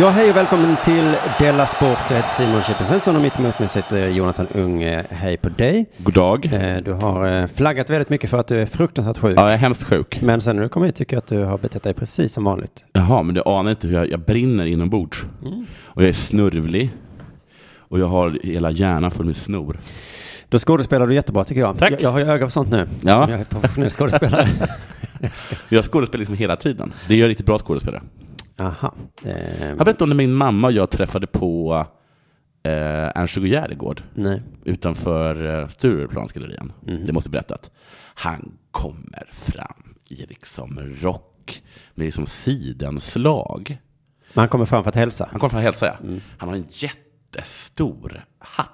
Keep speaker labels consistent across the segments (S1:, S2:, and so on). S1: Ja, hej och välkommen till Della Sport. Jag heter Simon Chippen Svensson och mitt emot mig sitter Jonathan Ung. Eh, Hej på dig.
S2: God dag.
S1: Eh, Du har eh, flaggat väldigt mycket för att du är fruktansvärt sjuk.
S2: Ja, jag är hemskt sjuk.
S1: Men sen när du kom hit tycker jag att du har betett dig precis som vanligt.
S2: Jaha, men du anar inte hur jag, jag brinner inombords. Och jag är snurvlig. Och jag har hela hjärnan full med snor.
S1: Då skådespelar du jättebra tycker jag.
S2: Tack.
S1: Jag, jag har ju öga för sånt nu.
S2: Ja.
S1: Som jag är professionell skådespelare.
S2: Jag skådespelar liksom hela tiden. Det gör riktigt bra skådespelare.
S1: Aha. Eh,
S2: Jag berättade om när min mamma och jag träffade på eh, Ernst Hugo Järegård
S1: nej.
S2: utanför eh, Stureplansgallerian. Det måste berättat. Han kommer fram i liksom rock med liksom sidenslag.
S1: Men han kommer fram för att hälsa.
S2: Han kommer från hälsa, ja. Han har en jättestor hatt.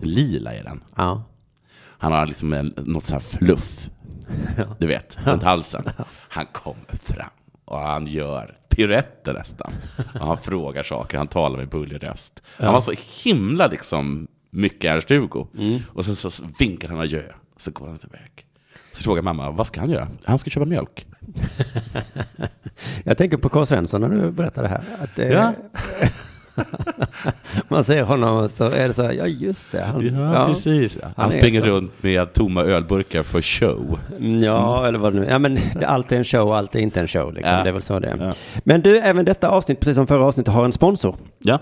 S2: Lila är den.
S1: Ja.
S2: Han har liksom en, något sånt här fluff. Du vet, runt halsen. Han kommer fram och han gör piruetter nästan. Och han frågar saker, han talar med bullig röst. Han var så himla liksom mycket Ernst Hugo. Och sen så vinkar han adjö, och så går han iväg. Så frågar mamma, vad ska han göra? Han ska köpa mjölk.
S1: Jag tänker på K. Svensson när du berättar det här. Att, eh,
S2: Ja.
S1: man ser honom och så är det så här, ja just det. Han,
S2: Han,
S1: är
S2: springer
S1: så.
S2: runt med tomma ölburkar för show.
S1: Ja, eller vad det nu Ja, men det- allt är en show, allt är inte en show. Liksom.
S2: Mm. Ja.
S1: Det är väl så det är.
S2: Ja.
S1: Men du, även detta avsnitt, precis som förra avsnittet, har en sponsor.
S2: Ja.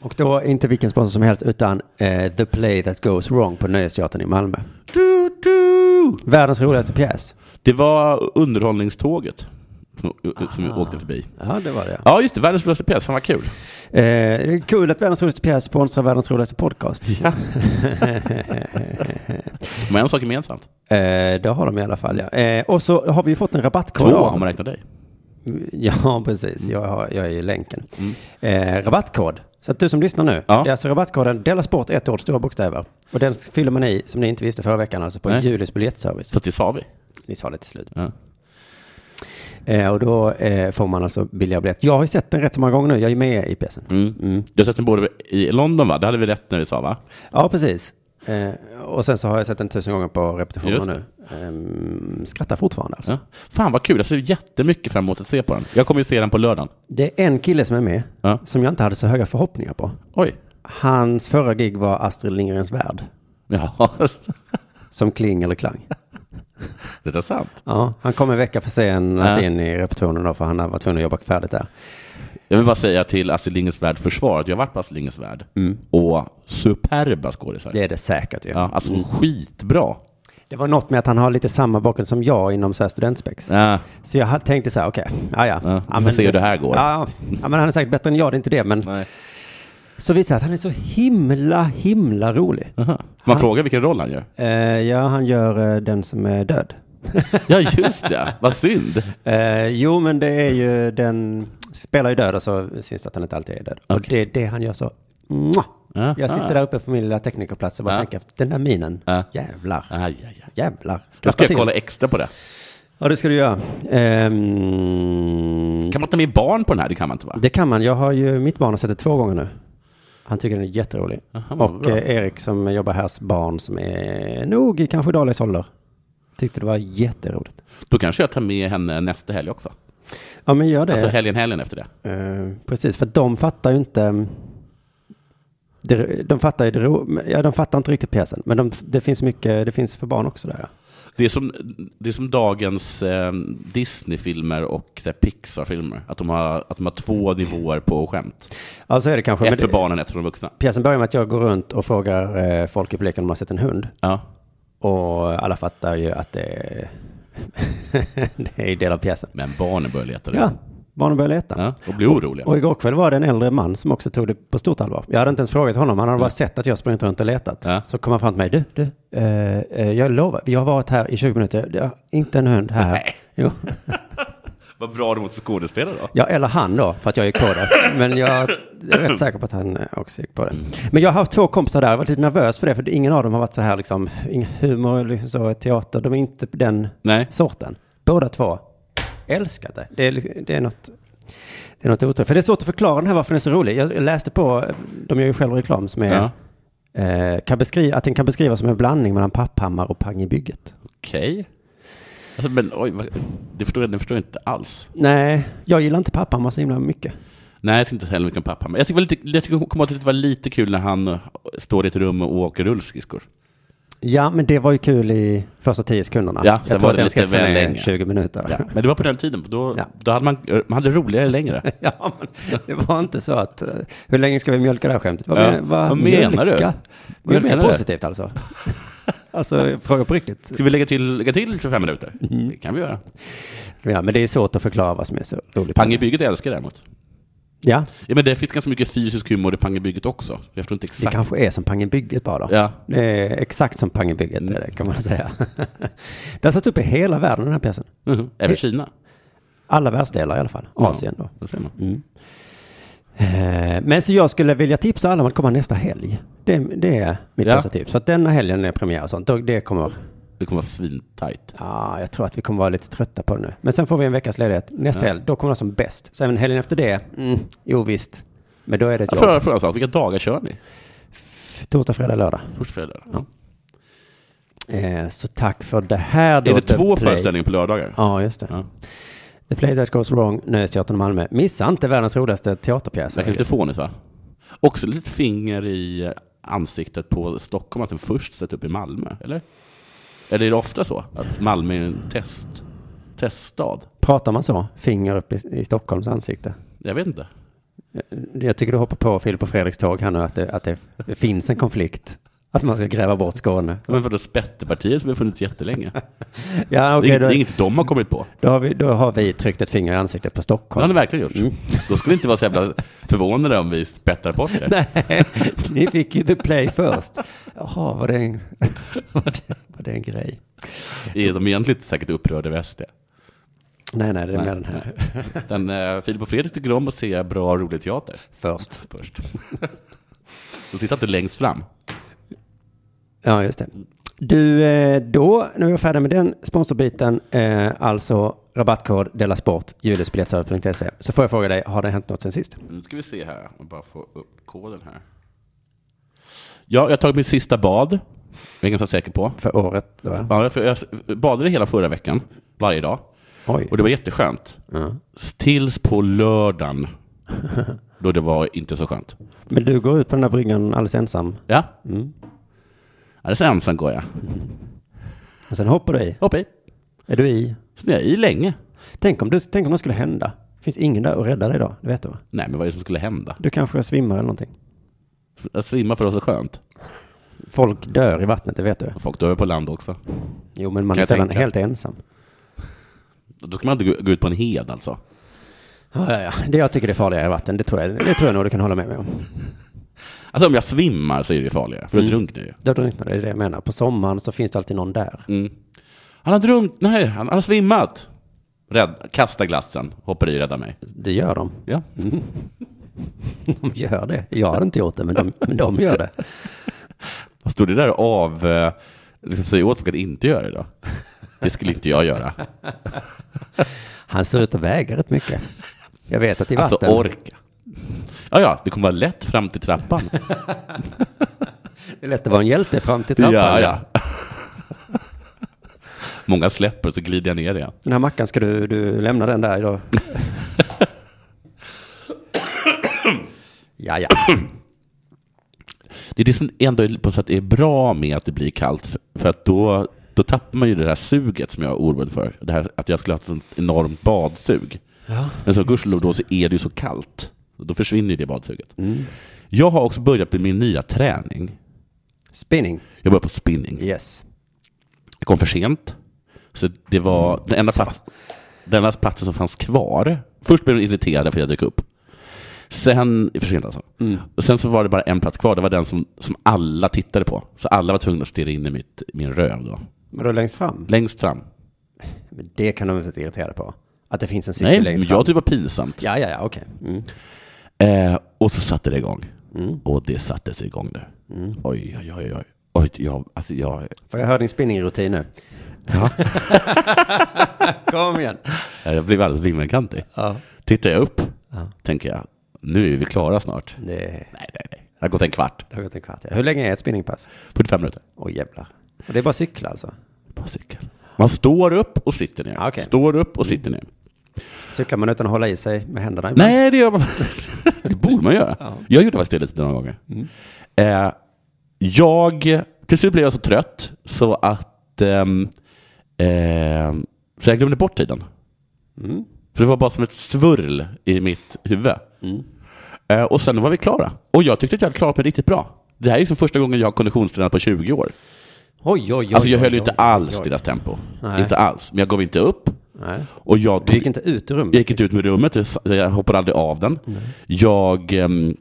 S1: Och då inte vilken sponsor som helst, utan eh, The Play That Goes Wrong på Nöjesteatern i Malmö.
S2: Du, du.
S1: Världens roligaste pjäs.
S2: Det var underhållningståget som, som åkte förbi.
S1: Ja, det var det.
S2: Ja, just det. Världens roligaste pjäs. Fan vad kul.
S1: Eh, det är kul att världens roligaste pjäs sponsrar världens roligaste podcast.
S2: Ja. De har en sak gemensamt.
S1: Eh, det har de i alla fall, ja. Eh, och så har vi ju fått en
S2: Två
S1: rabattkod. av-
S2: om man räknar dig.
S1: Ja, precis.
S2: Mm.
S1: Jag, har, jag är ju länken. Eh, rabattkod. Så att du som lyssnar nu,
S2: Ja.
S1: det är alltså rabattkoden Della Sport, ett ord, stora bokstäver. Och den fyller man i, som ni inte visste förra veckan, alltså på
S2: Nej.
S1: Julis biljettservice.
S2: Fast det sa vi.
S1: Ni sa det till slut.
S2: Ja.
S1: Eh, och då eh, får man alltså billigare biljett. Jag har ju sett den rätt så många gånger nu, jag är ju med i pjäsen.
S2: Mm. Du har sett den både i London, va? Det hade vi rätt när vi sa, va?
S1: Ja, precis. Eh, och sen så har jag sett den tusen gånger på repetitioner
S2: Just
S1: nu.
S2: det.
S1: Ehm, skrattar fortfarande alltså.
S2: Ja. Fan vad kul. Jag ser jättemycket fram emot att se på den. Jag kommer ju se den på lördagen.
S1: Det är en kille som är med,
S2: Ja.
S1: som jag inte hade så höga förhoppningar på.
S2: Oj.
S1: Hans förra gig var Astrid Lindgrens Värld,
S2: Ja.
S1: som Kling eller Klang.
S2: Det är sant.
S1: Ja, han kom en vecka för sent
S2: Ja.
S1: in i repetitionen då, för han var tvungen att jobba färdigt där.
S2: Jag vill bara säga till Astrid Lindgrens Värld försvar att jag har varit på Astrid Lindgrens Värld. Och superba skådisar.
S1: Det är det säkert ju.
S2: Ja, alltså skitbra.
S1: Det var något med att han har lite samma bakgrund som jag inom så här studentspex.
S2: Ja.
S1: Så jag ha- tänkte så här, okej, ja ja.
S2: Ja, vi får se hur det här går.
S1: Ja, ja, men han är säkert bättre än jag, det är inte det, men
S2: Nej.
S1: så visar det att han är så himla, himla rolig.
S2: Aha. Man
S1: Han-
S2: frågar vilken roll han gör.
S1: Eh, ja, han gör eh, den som är död.
S2: Ja, just det. Vad synd.
S1: Eh, jo, men det är ju den, spelar ju död och så syns det att han inte alltid är död. Och det är det han gör så, Mwah!
S2: Aha.
S1: Jag sitter där uppe på min lilla teknikerplats och bara
S2: Ja.
S1: tänker, den där minen,
S2: Ja.
S1: jävlar,
S2: Aj, aj, aj.
S1: jävlar.
S2: Då ska
S1: Skratta
S2: jag
S1: till.
S2: kolla extra på det.
S1: Ja, det ska du göra. Ehm,
S2: Kan man ta med barn på den här? Det kan man inte va?
S1: det kan man, jag har ju, mitt barn har sett det två gånger nu. Han tycker den är jätterolig.
S2: Aha, vad
S1: och
S2: bra.
S1: eh, Erik som jobbar härs barn som är nog i kanske Dahlias ålder, tyckte det var jätteroligt.
S2: Då kanske jag tar med henne nästa helg också.
S1: Ja, men gör det.
S2: Alltså helgen, helgen efter det.
S1: Eh, precis, för de fattar ju inte... mm, det- De fattar ju det ro, men- ja, de fattar inte riktigt pjäsen. Men de, det finns mycket, det finns för barn också där. Ja.
S2: Det är som, det är som dagens eh, Disney-filmer och så här, Pixar-filmer. Att de, har, att de har två nivåer på skämt.
S1: Ja, så är det kanske. men
S2: Ett för
S1: det-
S2: barnen, ett för de vuxna.
S1: Pjäsen börjar med att jag går runt och frågar eh, folk i publiken om de har sett en hund.
S2: Ja.
S1: Och alla fattar ju att det är, det är en del av pjäsen.
S2: Men barnen börjar leta
S1: Ja,
S2: redan.
S1: barnen börjar leta.
S2: Ja, och blir oroliga.
S1: Och igår kväll var det en äldre man som också tog det på stort allvar. Jag hade inte ens frågat honom, han hade bara sett att jag sprungit runt och letat.
S2: Ja.
S1: Så kom han fram till mig, du, du, eh, eh, jag lovar, jag har varit här i 20 minuter, det är inte en hund här. Jo.
S2: Vad bra du mot skådespelare då.
S1: Ja, eller han då, för att jag gick på det. Men jag är rätt säker på att han eh, också gick på
S2: Mm.
S1: det. Men jag har haft två kompisar där, jag har varit lite nervös för det, för ingen av dem har varit så här liksom, ingen humor, liksom så, teater, de är inte den
S2: Nej.
S1: sorten. Båda två älskat det. Det är, liksom- det är något... Det är något otroligt. För det är svårt att förklara den här varför den är så rolig. Jag jag läste på, de gör ju själva reklam som är,
S2: Ja.
S1: eh, kan beskriva, att den kan beskrivas som en blandning mellan Papphammar och Pang i bygget.
S2: Okej. Alltså, men oj, vad, det förstår jag, det förstår jag inte alls.
S1: Nej, jag gillar inte Papphammar så himla mycket.
S2: Nej, jag tycker inte heller mycket om pappa. Men jag tycker, det var lite, jag tycker kommer att det var lite kul när han eh, står i ett rum och åker rullskridskor.
S1: Ja, men det var ju kul i första tio sekunderna.
S2: Ja, sen
S1: jag
S2: var
S1: tror att
S2: det
S1: den ska
S2: lite
S1: ta
S2: väl
S1: ner
S2: länge.
S1: 20 minuter.
S2: Ja. Men det var på den tiden, då,
S1: Ja.
S2: då hade man, eh, man hade roligare längre.
S1: Ja, men det var inte så att... eh, Hur länge ska vi mjölka det här skämtet? Vad,
S2: Ja.
S1: men- vad,
S2: Vad menar du?
S1: mjölka?
S2: Vad
S1: Mjölka
S2: menar du?
S1: positivt alltså? alltså, fråga på riktigt.
S2: Ska vi lägga till, lägga till 25 minuter?
S1: Mhm.
S2: Det kan vi göra.
S1: Ja, men det är svårt att förklara vad som är så roligt.
S2: Pang i bygget älskar jag däremot.
S1: Ja,
S2: Ja, men det finns ganska mycket fysisk humor i Pang i bygget också. Jag förstår inte
S1: det
S2: exakt.
S1: kanske är som Pang i bygget bara då.
S2: Ja. Mm.
S1: Det är exakt som Pang i bygget, är det, kan man säga. Den har satt upp i hela världen, den här pjäsen.
S2: Mhm. Även Kina.
S1: Alla världsdelar i alla fall.
S2: Ja.
S1: Asien då. Mm.
S2: Då ser man.
S1: Eh, Men så jag skulle vilja tipsa alla om att komma nästa helg. Det, det är mitt
S2: Ja.
S1: bästa tips. Så att denna helgen är premiär och sånt. då- Det kommer...
S2: Det kommer vara svintajt.
S1: Ja, jag tror att vi kommer vara lite trötta på det nu. Men sen får vi en veckas ledighet. Nästa helg, då kommer det som bäst. Sen helgen efter det, mm, jo visst. Men då är det ett
S2: Jag
S1: jobb.
S2: frågar, frågar en sak, vilka dagar kör ni?
S1: Torsdag, fredag, lördag.
S2: Torsdag, fredag?
S1: Eh, så tack för det här då.
S2: Är det
S1: The
S2: två
S1: Play.
S2: föreställningar på lördagar?
S1: Ja, just det.
S2: Ja.
S1: The Play That Goes Wrong, Nöjesteatern i Malmö. Missa inte världens roligaste teaterpjäs.
S2: Verkar lite fånigt va? Också lite finger i ansiktet på Stockholm att den först sätts upp i Malmö, eller? Eller är det ofta så? Att Malmö är en test, teststad?
S1: Pratar man så? Finger upp i, i Stockholms ansikte. Eh,
S2: Jag vet inte.
S1: Jag tycker du hoppar på Filip och Fredriks tåg här nu, att det, att det finns en konflikt. Att man ska gräva bort Skåne.
S2: Men för det Spetterpartiet har funnits jättelänge.
S1: Ja,
S2: Det är
S1: okej,
S2: inget- det är
S1: då,
S2: inget de har kommit på.
S1: då, har vi, då har vi tryckt ett finger i ansiktet på
S2: Det har
S1: Stockholm.
S2: ni verkligen gjort. Då skulle det inte vara så jävla förvånade om vi spettar bort det.
S1: Nej, ni fick ju The Play först. Jaha, var det en, var det, var det en grej?
S2: Är de egentligen inte säkert upprörda över SD?
S1: Nej, nej, det är med den här
S2: Den, eh, Filip och Fredrik tycker om att se bra, rolig teater
S1: först.
S2: först. De sitter inte längst fram.
S1: Ja, just det. Du, eh, då, när vi är färdiga med den sponsorbiten, eh, alltså rabattkod Della Sport, julesbiljettservice.se, så får jag fråga dig, har det hänt något sen sist?
S2: Nu ska vi se här, om jag bara få upp koden här. Ja, jag har tagit mitt sista bad. Jag är ganska säker på.
S1: För året? Då, ja.
S2: Ja, för jag badade hela förra veckan, varje dag.
S1: Oj.
S2: Och det var jätteskönt.
S1: Ja.
S2: Tills på lördagen, då det var inte så skönt.
S1: Men du går ut på den där bryggan alldeles ensam,
S2: Ja. Alldeles ensam går jag.
S1: och sen hoppar du i.
S2: Hopp i.
S1: Är du i?
S2: Snöade i länge.
S1: Tänk om, du, tänk om det skulle hända. Det finns ingen där att rädda dig idag, det vet du va?
S2: Nej, men vad är det som skulle hända?
S1: Du kanske svimmar eller någonting.
S2: Att svimma för oss är skönt.
S1: Folk dör i vattnet, det vet du.
S2: Och Folk dör på land också.
S1: Jo, men man
S2: Kan
S1: är
S2: jag
S1: sällan
S2: tänka.
S1: helt ensam.
S2: Då ska man inte gå- gå ut på en hed alltså.
S1: Ja, ja, ja. Det jag tycker är farligare i vatten, det tror jag, det tror jag nog du kan hålla med mig om.
S2: Alltså om jag svimmar så är det ju farligare, för då drunknar jag ju.
S1: Då drunknar du, det är det jag menar. På sommaren så finns det alltid någon där.
S2: Han har drunknat, nej, han, han har svimmat. Rädd, kasta glassen, hoppar i, rädda mig.
S1: Det gör de.
S2: Ja.
S1: De gör det. Jag hade inte gjort det, men de, men de gör det.
S2: Och Stod det där och av, eh, liksom säger åt folk att inte göra det då? Det skulle inte jag göra.
S1: Han ser ut att väga rätt mycket. Jag vet att i
S2: Alltså
S1: vatten...
S2: orka. Ja, ja, det kommer vara lätt fram till trappan.
S1: Det är lätt att vara en hjälte fram till trappan.
S2: Ja, ja. Många släpper så glider jag ner igen.
S1: Den här mackan, ska du, du lämna den där idag? ja, ja.
S2: Det är det som ändå på sätt är bra med att det blir kallt, för- för att då, då tappar man ju det här suget som jag är orolig för. Det här, att jag skulle ha ett sånt enormt badsug. Men så gudskelov då så är det ju så kallt. Då försvinner ju det badsuget. Jag har också börjat med min nya träning.
S1: Spinning.
S2: Jag började på spinning.
S1: Yes.
S2: Jag kom för sent. Så det
S1: Mm.
S2: var den enda, plats, den enda platsen som fanns kvar. Först blev de irriterade för att jag dök upp. Sen, för sent alltså.
S1: Mm.
S2: Och sen så var det bara en plats kvar. Det var den som, som alla tittade på. Så alla var tvungna att stirra in i mitt, min röv då.
S1: Men då längst fram?
S2: Längst fram.
S1: Men det kan de inte vara irriterade på. Att det finns en cykel
S2: Nej, men
S1: längst
S2: jag
S1: fram.
S2: tyckte det var pinsamt.
S1: Ja, ja, ja, okej. Mm.
S2: Eh, och så satte det igång. Och det sattes igång nu.
S1: Mm.
S2: Oj, oj, oj, oj. Oj, jag, alltså jag,
S1: Får jag höra din spinningrutin nu? Ja. Kom igen.
S2: Jag blev alldeles vimmelkantig.
S1: Ja.
S2: Tittar jag upp,
S1: Ja.
S2: tänker jag, nu är vi klara snart.
S1: Det
S2: Nej, nej, nej. Det har gått en kvart.
S1: det har gått en kvart. ja. Hur länge är ett spinningpass?
S2: 45 minuter.
S1: Åh jävlar. Och det är bara cykla alltså?
S2: På cykel. Man står upp och sitter ner.
S1: Ja, Ah, okej. Mm.
S2: Står upp och sitter ner.
S1: Cyklar man utan att hålla i sig med händerna? ibland?
S2: Nej, det gör man Det borde man göra.
S1: Ja. Mm.
S2: Jag gjorde faktiskt det lite några gånger. Eh, jag, till slut blev jag så trött så att ehm, ehm, så jag glömde bort tiden.
S1: Mm.
S2: För det var bara som ett svurl i mitt huvud.
S1: Mm.
S2: Eh, och sen var vi klara. Och jag tyckte att jag hade klarat mig riktigt bra. Det här är liksom första gången jag har konditionstränat på 20 år.
S1: Oj, oj, oj.
S2: Alltså jag
S1: oj,
S2: höll ju
S1: oj,
S2: inte
S1: oj,
S2: alls
S1: oj.
S2: deras tempo.
S1: Nej.
S2: Inte alls. Men jag gav inte upp.
S1: Nej.
S2: Och jag
S1: Du
S2: tog
S1: gick inte ut ur rummet?
S2: jag gick inte ut med rummet, jag sa- jag hoppade aldrig av den. Jag, ehm,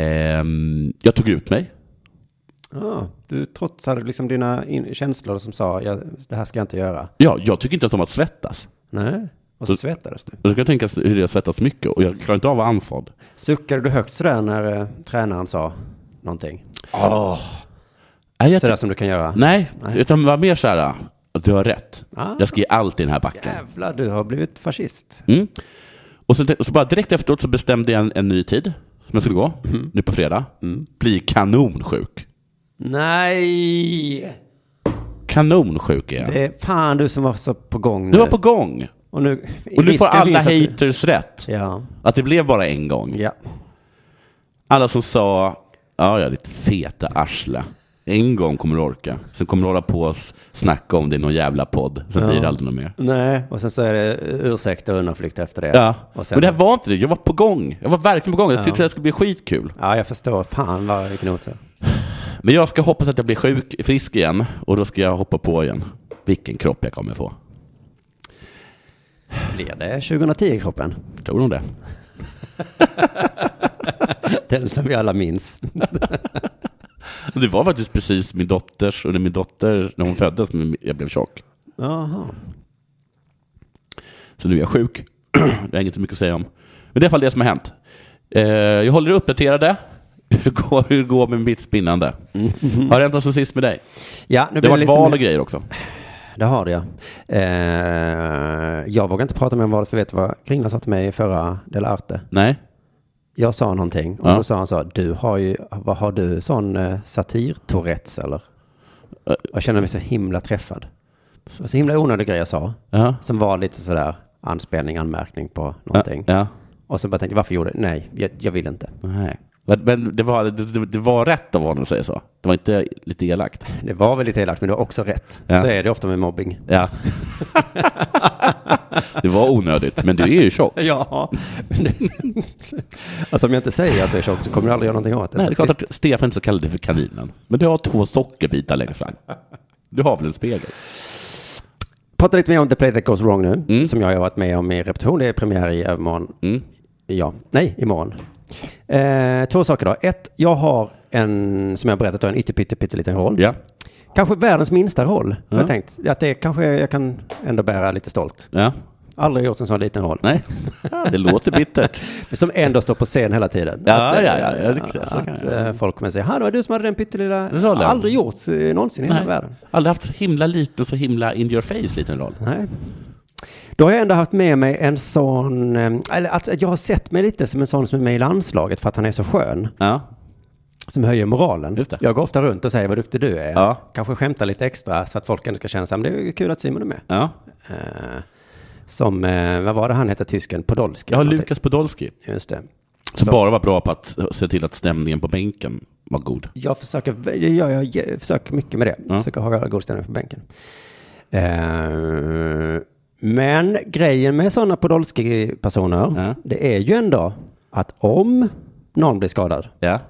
S2: ehm, jag tog ut mig.
S1: Ja, du trotsade liksom dina in- känslor som sa, ja, det här ska jag inte göra.
S2: Ja, jag tycker inte ens om att svettas.
S1: Nej. Och så svettades du.
S2: Och då kan jag tänka sig hur jag svettas mycket och jag klarar inte av att vara andfådd.
S1: Suckade du högt sådär när eh, tränaren sa någonting?
S2: Nej, jag
S1: Sådär
S2: ty-
S1: som du kan göra?
S2: nej,
S1: Nej.
S2: utan det var mer så här, att du har rätt.
S1: Ah.
S2: Jag ska ge allt i den här backen.
S1: Jävlar, du har blivit fascist.
S2: Mm. Och, så, och så bara direkt efteråt så bestämde jag en, en ny tid som jag skulle gå,
S1: Mm.
S2: nu på fredag. Bli kanonsjuk.
S1: Nej!
S2: Kanonsjuk är jag.
S1: Det är fan du som var så på gång nu.
S2: Nu var på gång.
S1: Och nu,
S2: Och nu får
S1: risken
S2: alla
S1: finns att du-
S2: haters rätt.
S1: Ja.
S2: Att det blev bara en gång.
S1: Ja.
S2: Alla som sa, ja ja ditt feta arsle. En gång kommer du orka. Sen kommer du hålla på och s- snacka om det i någon jävla podd. Sen blir det aldrig något mer.
S1: Nej, och sen så är det ursäkter och undanflykt efter det.
S2: Ja,
S1: och sen,
S2: men det här var inte det. Jag var på gång. Jag var verkligen på gång. Jag tyckte det här skulle bli skitkul.
S1: Ja, jag förstår. Fan vad vilken otur.
S2: Men jag ska hoppas att jag blir sjuk, frisk igen och då ska jag hoppa på igen. Vilken kropp jag kommer få.
S1: Blir det 2010-kroppen?
S2: Tror du det?
S1: Den som vi alla minns.
S2: Det var faktiskt precis min dotters, under min dotter, när hon föddes, men jag blev tjock.
S1: Jaha.
S2: Så nu är jag sjuk. det är inget mycket att säga om. Men det är i alla fall det som har hänt. Eh, jag håller er uppdaterade. Hur det går, hur det går med mitt spinnande? Har det hänt något sen sist med dig?
S1: Ja, nu
S2: Det
S1: Mm. blir det
S2: har varit
S1: lite
S2: val
S1: mer-
S2: och grejer också.
S1: Det har det, ja. Eh, jag vågar inte prata mer om valet, för vet du vad Kringla sa till mig i förra Dela Arte?
S2: Nej?
S1: Jag sa någonting och
S2: Ja.
S1: så sa han så, du har ju, vad har du sån eh, satir-tourettes eller?
S2: Eh.
S1: Jag känner mig så himla träffad. Det var så himla onödig grej jag sa,
S2: Ja.
S1: som var lite sådär anspelning, anmärkning på
S2: Ja.
S1: någonting.
S2: ja.
S1: Och så bara tänkte jag, varför gjorde jag det? Nej, jag, jag vill inte.
S2: Nej. Men- Men det var, det, det- det var rätt av honom att säga så. Det var inte lite elakt.
S1: Det var väl lite elakt, men det var också rätt.
S2: Ja.
S1: Så är det ofta med mobbing.
S2: Ja. det var onödigt, men du är ju tjock.
S1: Ja. alltså om jag inte säger att jag är tjock så kommer du aldrig göra någonting åt det.
S2: Nej,
S1: Så
S2: det är klart att Stefan så kallade dig för kaninen. Men du har två sockerbitar längre fram. Du har väl en spegel?
S1: Prata lite mer om The Play That Goes Wrong nu,
S2: Mm.
S1: som jag har varit med om i repetition. Det är premiär i övermorgon.
S2: Mm.
S1: Ja, nej, imorgon. Eh, två saker då. Ett, jag har en, som jag berättat, då, en ytterpytte pytteliten roll.
S2: Ja.
S1: Kanske världens minsta roll, har
S2: Ja.
S1: jag tänkt. Att det kanske jag kan ändå bära lite stolt.
S2: Ja.
S1: Aldrig gjort en sån liten roll.
S2: Nej, det låter bittert.
S1: Som ändå står på scen hela tiden.
S2: Ja,
S1: eh,
S2: ja, ja, jag tycker så.
S1: att, eh, folk kommer säga, "Ha, det var du som hade den pyttelilla...
S2: Rollen.
S1: Aldrig gjorts eh, någonsin i hela världen.
S2: Aldrig haft så himla liten, så himla in your face liten roll.
S1: Nej. Då har jag ändå haft med mig en sån, eh, eller att att jag har sett mig lite som en sån som är med i landslaget för att han är så skön,
S2: Ja.
S1: som höjer moralen.
S2: Just det.
S1: Jag går ofta runt och säger vad duktig du är.
S2: Ja.
S1: Kanske skämtar lite extra så att folk ändå ska känna sig, "Men det är kul att Simon är med.
S2: ja.
S1: Eh, Som, eh, vad var det han hette, tysken, Podolsky?
S2: Jag har
S1: eller
S2: Lukas Podolski,
S1: någonting. Just det.
S2: som
S1: Så-
S2: bara var bra på att se till att stämningen på bänken var god.
S1: Jag försöker, jag, jag, jag försöker mycket med det.
S2: Ja.
S1: Försöker ha god ställning på bänken. Eh, men grejen med sådana Podolsky-personer,
S2: Ja.
S1: det är ju ändå att om någon blir skadad,
S2: Ja.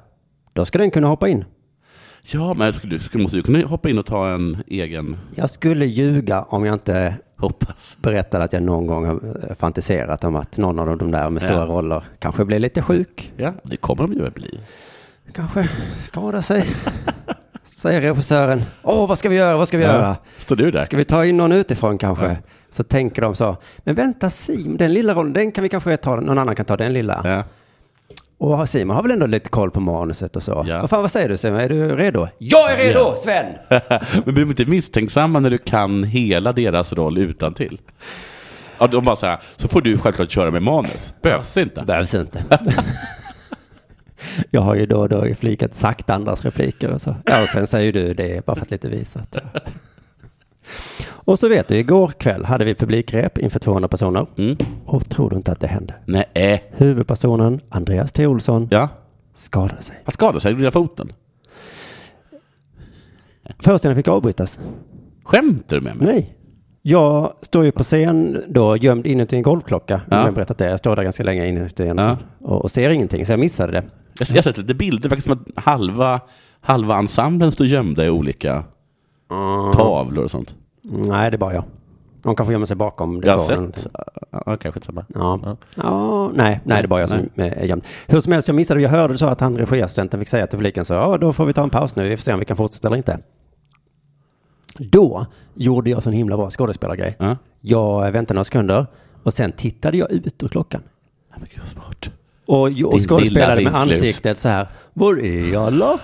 S1: då ska den kunna hoppa in.
S2: Ja, men skulle, du- skulle, måste du kunna hoppa in och ta en egen
S1: Jag skulle ljuga om jag inte
S2: hoppas.
S1: berättade att jag någon gång har eh, fantiserat om att någon av de där med
S2: Ja.
S1: stora roller kanske blir lite sjuk,
S2: Ja, det kommer de ju att bli.
S1: kanske skadar sig. Säger regissören, åh vad ska vi göra, vad ska vi göra?
S2: Står du där?
S1: Ska vi ta in någon utifrån kanske? Så tänker de så. Men vänta Sim, den lilla rollen, den kan vi kanske ta, någon annan kan ta den lilla.
S2: Ja.
S1: Och Simon har väl ändå lite koll på manuset och så.
S2: Ja.
S1: Vad fan, vad säger du Simon, är du redo? Jag är redo Sven!
S2: men blir de inte misstänksamma när du kan hela deras roll utan till? Ja, de bara så här, så får du självklart köra med manus. Behövs inte.
S1: Behövs inte. Jag har ju då och då i flikat sagt andras repliker och så. Ja, och sen säger du det bara för att lite visa att... Och så vet du, igår kväll hade vi publikrep inför 200 personer.
S2: Mm.
S1: Och tror du inte att det hände?
S2: Nej, äh.
S1: Huvudpersonen, Andreas T. Olsson,
S2: ja.
S1: skadade sig.
S2: Han skadade sig i lilla foten.
S1: Föreställningen fick avbrytas.
S2: Skämtar du med mig?
S1: Nej. Jag står ju på scen då gömd inuti en golvklocka.
S2: Ja.
S1: Jag har berättat det. Jag står där ganska länge inuti en
S2: Ja.
S1: och, och ser ingenting, så jag missade det.
S2: Jag, jag har sett lite bilder, det verkar som att halva, halva ensemblen står gömda i olika Mm. tavlor och sånt.
S1: Nej, det är bara jag. De kanske gömmer sig bakom.
S2: Jag har
S1: dekoren.
S2: sett. Ja, kanske samma.
S1: Ja. ja, nej, nej, det är bara jag som eh, är gömd. Hur som helst, jag missade, jag hörde så att han regiassistenten fick säga till publiken så, ja, då får vi ta en paus nu, vi får se om vi kan fortsätta eller inte. Då gjorde jag sån himla bra skådespelargrej.
S2: Ja.
S1: Jag väntade några sekunder och sen tittade jag ut ur klockan.
S2: Nej, men gud vad smart.
S1: Och, jag- och
S2: Din
S1: skådespelade
S2: lilla
S1: med
S2: rinslus.
S1: ansiktet så här, var är alla?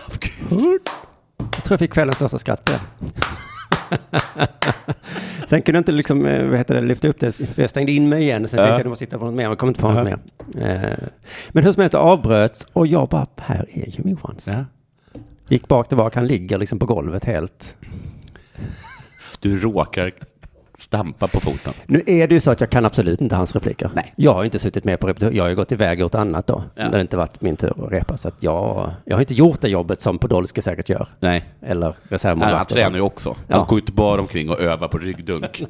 S1: Jag tror jag fick kvällens största skratt på det. sen kunde jag inte liksom, eh, vad heter det, lyfta upp det, för jag stängde in mig igen. Sen
S2: Ja.
S1: tänkte jag, du måste hitta på något mer, men jag kom inte på något mer. Eh, Men hur som helst, det avbröts och jag bara, här är Jimmy Johans.
S2: Ja.
S1: Gick bak tillbaka, han ligger liksom på golvet helt.
S2: Du råkar stampa på foten.
S1: Nu är det ju så att jag kan absolut inte hans repliker.
S2: Nej.
S1: Jag har ju inte suttit med på repetition, jag har ju gått iväg och gjort annat då.
S2: Ja.
S1: När det inte varit min tur att repa, så att jag, jag har inte gjort det jobbet som Podolsky säkert gör.
S2: Nej.
S1: Eller
S2: Nej, han
S1: reservmålvakt. och
S2: tränar
S1: sånt.
S2: ju också.
S1: Ja.
S2: Han går ju inte bara omkring och övar på ryggdunk.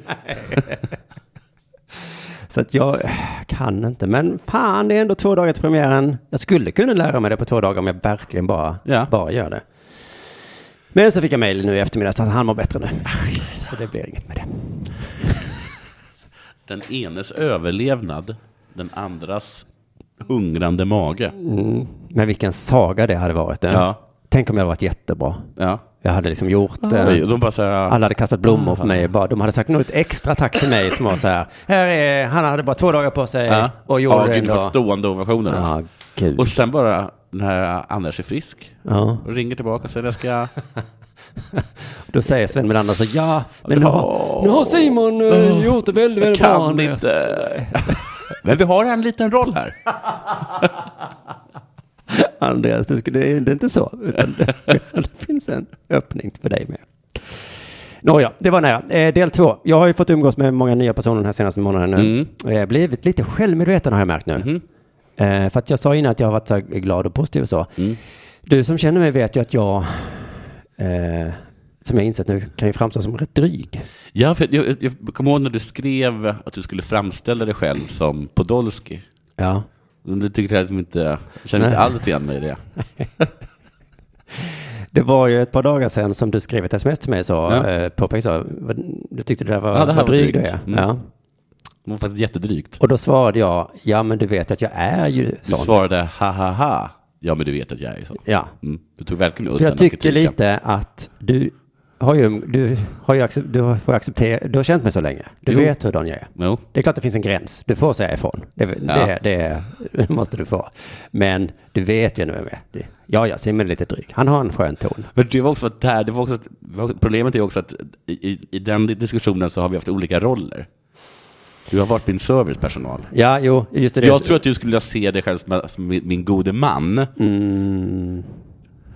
S1: Så att jag eh, kan inte. Men fan, det är ändå två dagar till premiären. Jag skulle kunna lära mig det på två dagar om jag verkligen bara,
S2: Ja.
S1: bara gör det. Men så fick jag mejl nu i eftermiddag så att han mår bättre nu. Så det blir inget med det.
S2: Den enes överlevnad, den andras hungrande mage.
S1: Men vilken saga det hade varit. eh.
S2: Ja.
S1: Tänk om jag hade varit jättebra.
S2: Ja.
S1: Jag hade liksom gjort
S2: Oj,
S1: det.
S2: och de bara så här,
S1: Alla hade kastat blommor på mig. Bara, de hade sagt något extra tack till mig som var så här. här är, han hade bara två dagar på sig
S2: ja.
S1: och gjorde det
S2: gud, Eh, det var
S1: ändå.
S2: stående ovationer.
S1: Ja, gud.
S2: Och sen bara när Anders är frisk
S1: Ja.
S2: och ringer tillbaka och säger jag ska...
S1: Då säger Sven Melander så ja, men nu har,
S2: Åh.
S1: nu har Simon eh, gjort det väldigt,
S2: Jag
S1: väldigt bra.
S2: kan
S1: Andreas."
S2: inte. Men vi har en liten roll här.
S1: Andreas, du skulle, det är det är inte så, utan det, det finns en öppning för dig med. Nåja, det var nära. Eh, del två. Jag har ju fått umgås med många nya personer den här senaste månaden nu. Eh, blivit lite självmedveten har jag märkt nu. Eh, för att jag sa innan att jag har varit så här glad och positiv och så. Du som känner mig vet ju att jag, eh, som jag insett nu, kan ju framstå som rätt dryg.
S2: Ja, för jag, jag, jag kommer ihåg när du skrev att du skulle framställa dig själv som Podolsky.
S1: Ja.
S2: Du tyckte jag att de inte, jag känner inte alls igen mig i det.
S1: Det var ju ett par dagar sedan som du skrev ett sms till mig så,
S2: Ja.
S1: eh, påpekade så, vad- du tyckte det där var,
S2: Ja, det här
S1: vad
S2: var
S1: dryg du
S2: drygt.
S1: är.
S2: Mm.
S1: Ja.
S2: Det var faktiskt jättedrygt.
S1: Och då svarade jag, ja men du vet att jag är ju
S2: Du
S1: sån.
S2: svarade ha ha ha. Ja, men du vet att jag är så.
S1: Ja,
S2: Mm. Du tog verkligen ut
S1: för jag
S2: den
S1: tycker
S2: kritiken.
S1: lite att du har ju, du har ju accep- du har- får acceptera, du har känt mig så länge. Du
S2: Jo.
S1: vet hurdan jag är.
S2: Jo.
S1: Det är klart det finns en gräns, du får säga ifrån. Det, det,
S2: Ja.
S1: det, måste du få. Men du vet ju nu med. Ja, ja, Simon är lite dryg. Han har en skön ton.
S2: Men det var också att det här, det var också att, problemet är också att i, i- i den diskussionen så har vi haft olika roller. Du har varit min servicepersonal.
S1: Ja, jo, just det.
S2: Jag tror att du skulle vilja se dig själv som, som min, min gode man. Mm.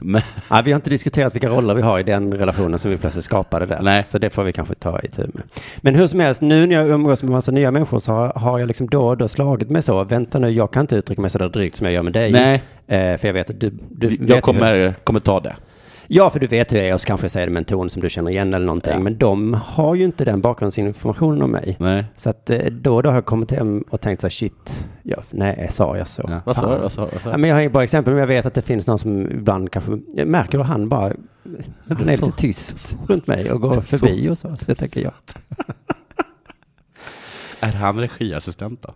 S2: Men,
S1: Ja, vi har inte diskuterat vilka roller vi har i den relationen som vi plötsligt skapade där.
S2: Nej.
S1: Så det får vi kanske ta i tur med. Men hur som helst, nu när jag umgås med massa nya människor så har, har jag liksom då och då slagit mig så. Vänta nu, jag kan inte uttrycka mig så där drygt som jag gör med dig.
S2: Nej.
S1: Eh, för jag vet att du... du vet ju
S2: jag kommer, kommer ta det.
S1: Hur, ja, för du vet hur jag är och så kanske jag säger det med en ton som du känner igen eller någonting.
S2: Ja.
S1: Men de har ju inte den bakgrundsinformationen om mig.
S2: Nej.
S1: Så att eh, då och då har jag kommit hem och tänkt så här, shit, ja, nej, sa jag så?
S2: Ja. Vad sa
S1: Fan.
S2: du? Vad sa du? Vad sa
S1: Ja,
S2: du?
S1: men jag har inget bra exempel, men jag vet att det finns någon som ibland kanske, jag märker hur han bara, han är
S2: så.
S1: lite tyst runt mig och går förbi och så. Så det tänker jag.
S2: Är han regiassistent då?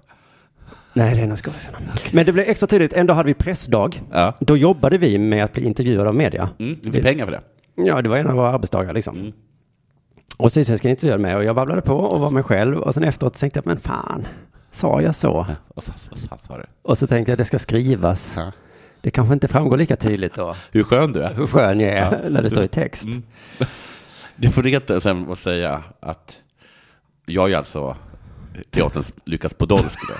S1: Nej, det är nog skådisarna. Men det blev extra tydligt, en dag hade vi pressdag.
S2: Ja.
S1: Då jobbade vi med att bli intervjuade av media.
S2: Mm, du fick pengar för det.
S1: Ja, det var en av våra arbetsdagar liksom.
S2: Mm.
S1: Och Sydsvenskan intervjuade mig och jag babblade på och var mig själv och sen efteråt tänkte jag, men fan, sa jag så?
S2: Ja, Vad fan, vad fan sa du?
S1: Och så tänkte jag, det ska skrivas.
S2: Ja.
S1: Det kanske inte framgår lika tydligt då,
S2: Hur skön du är.
S1: hur skön jag är när det står i text.
S2: Mm. eh, Du får reta sen och säga att jag är alltså teaterns Lukas Podolsky då.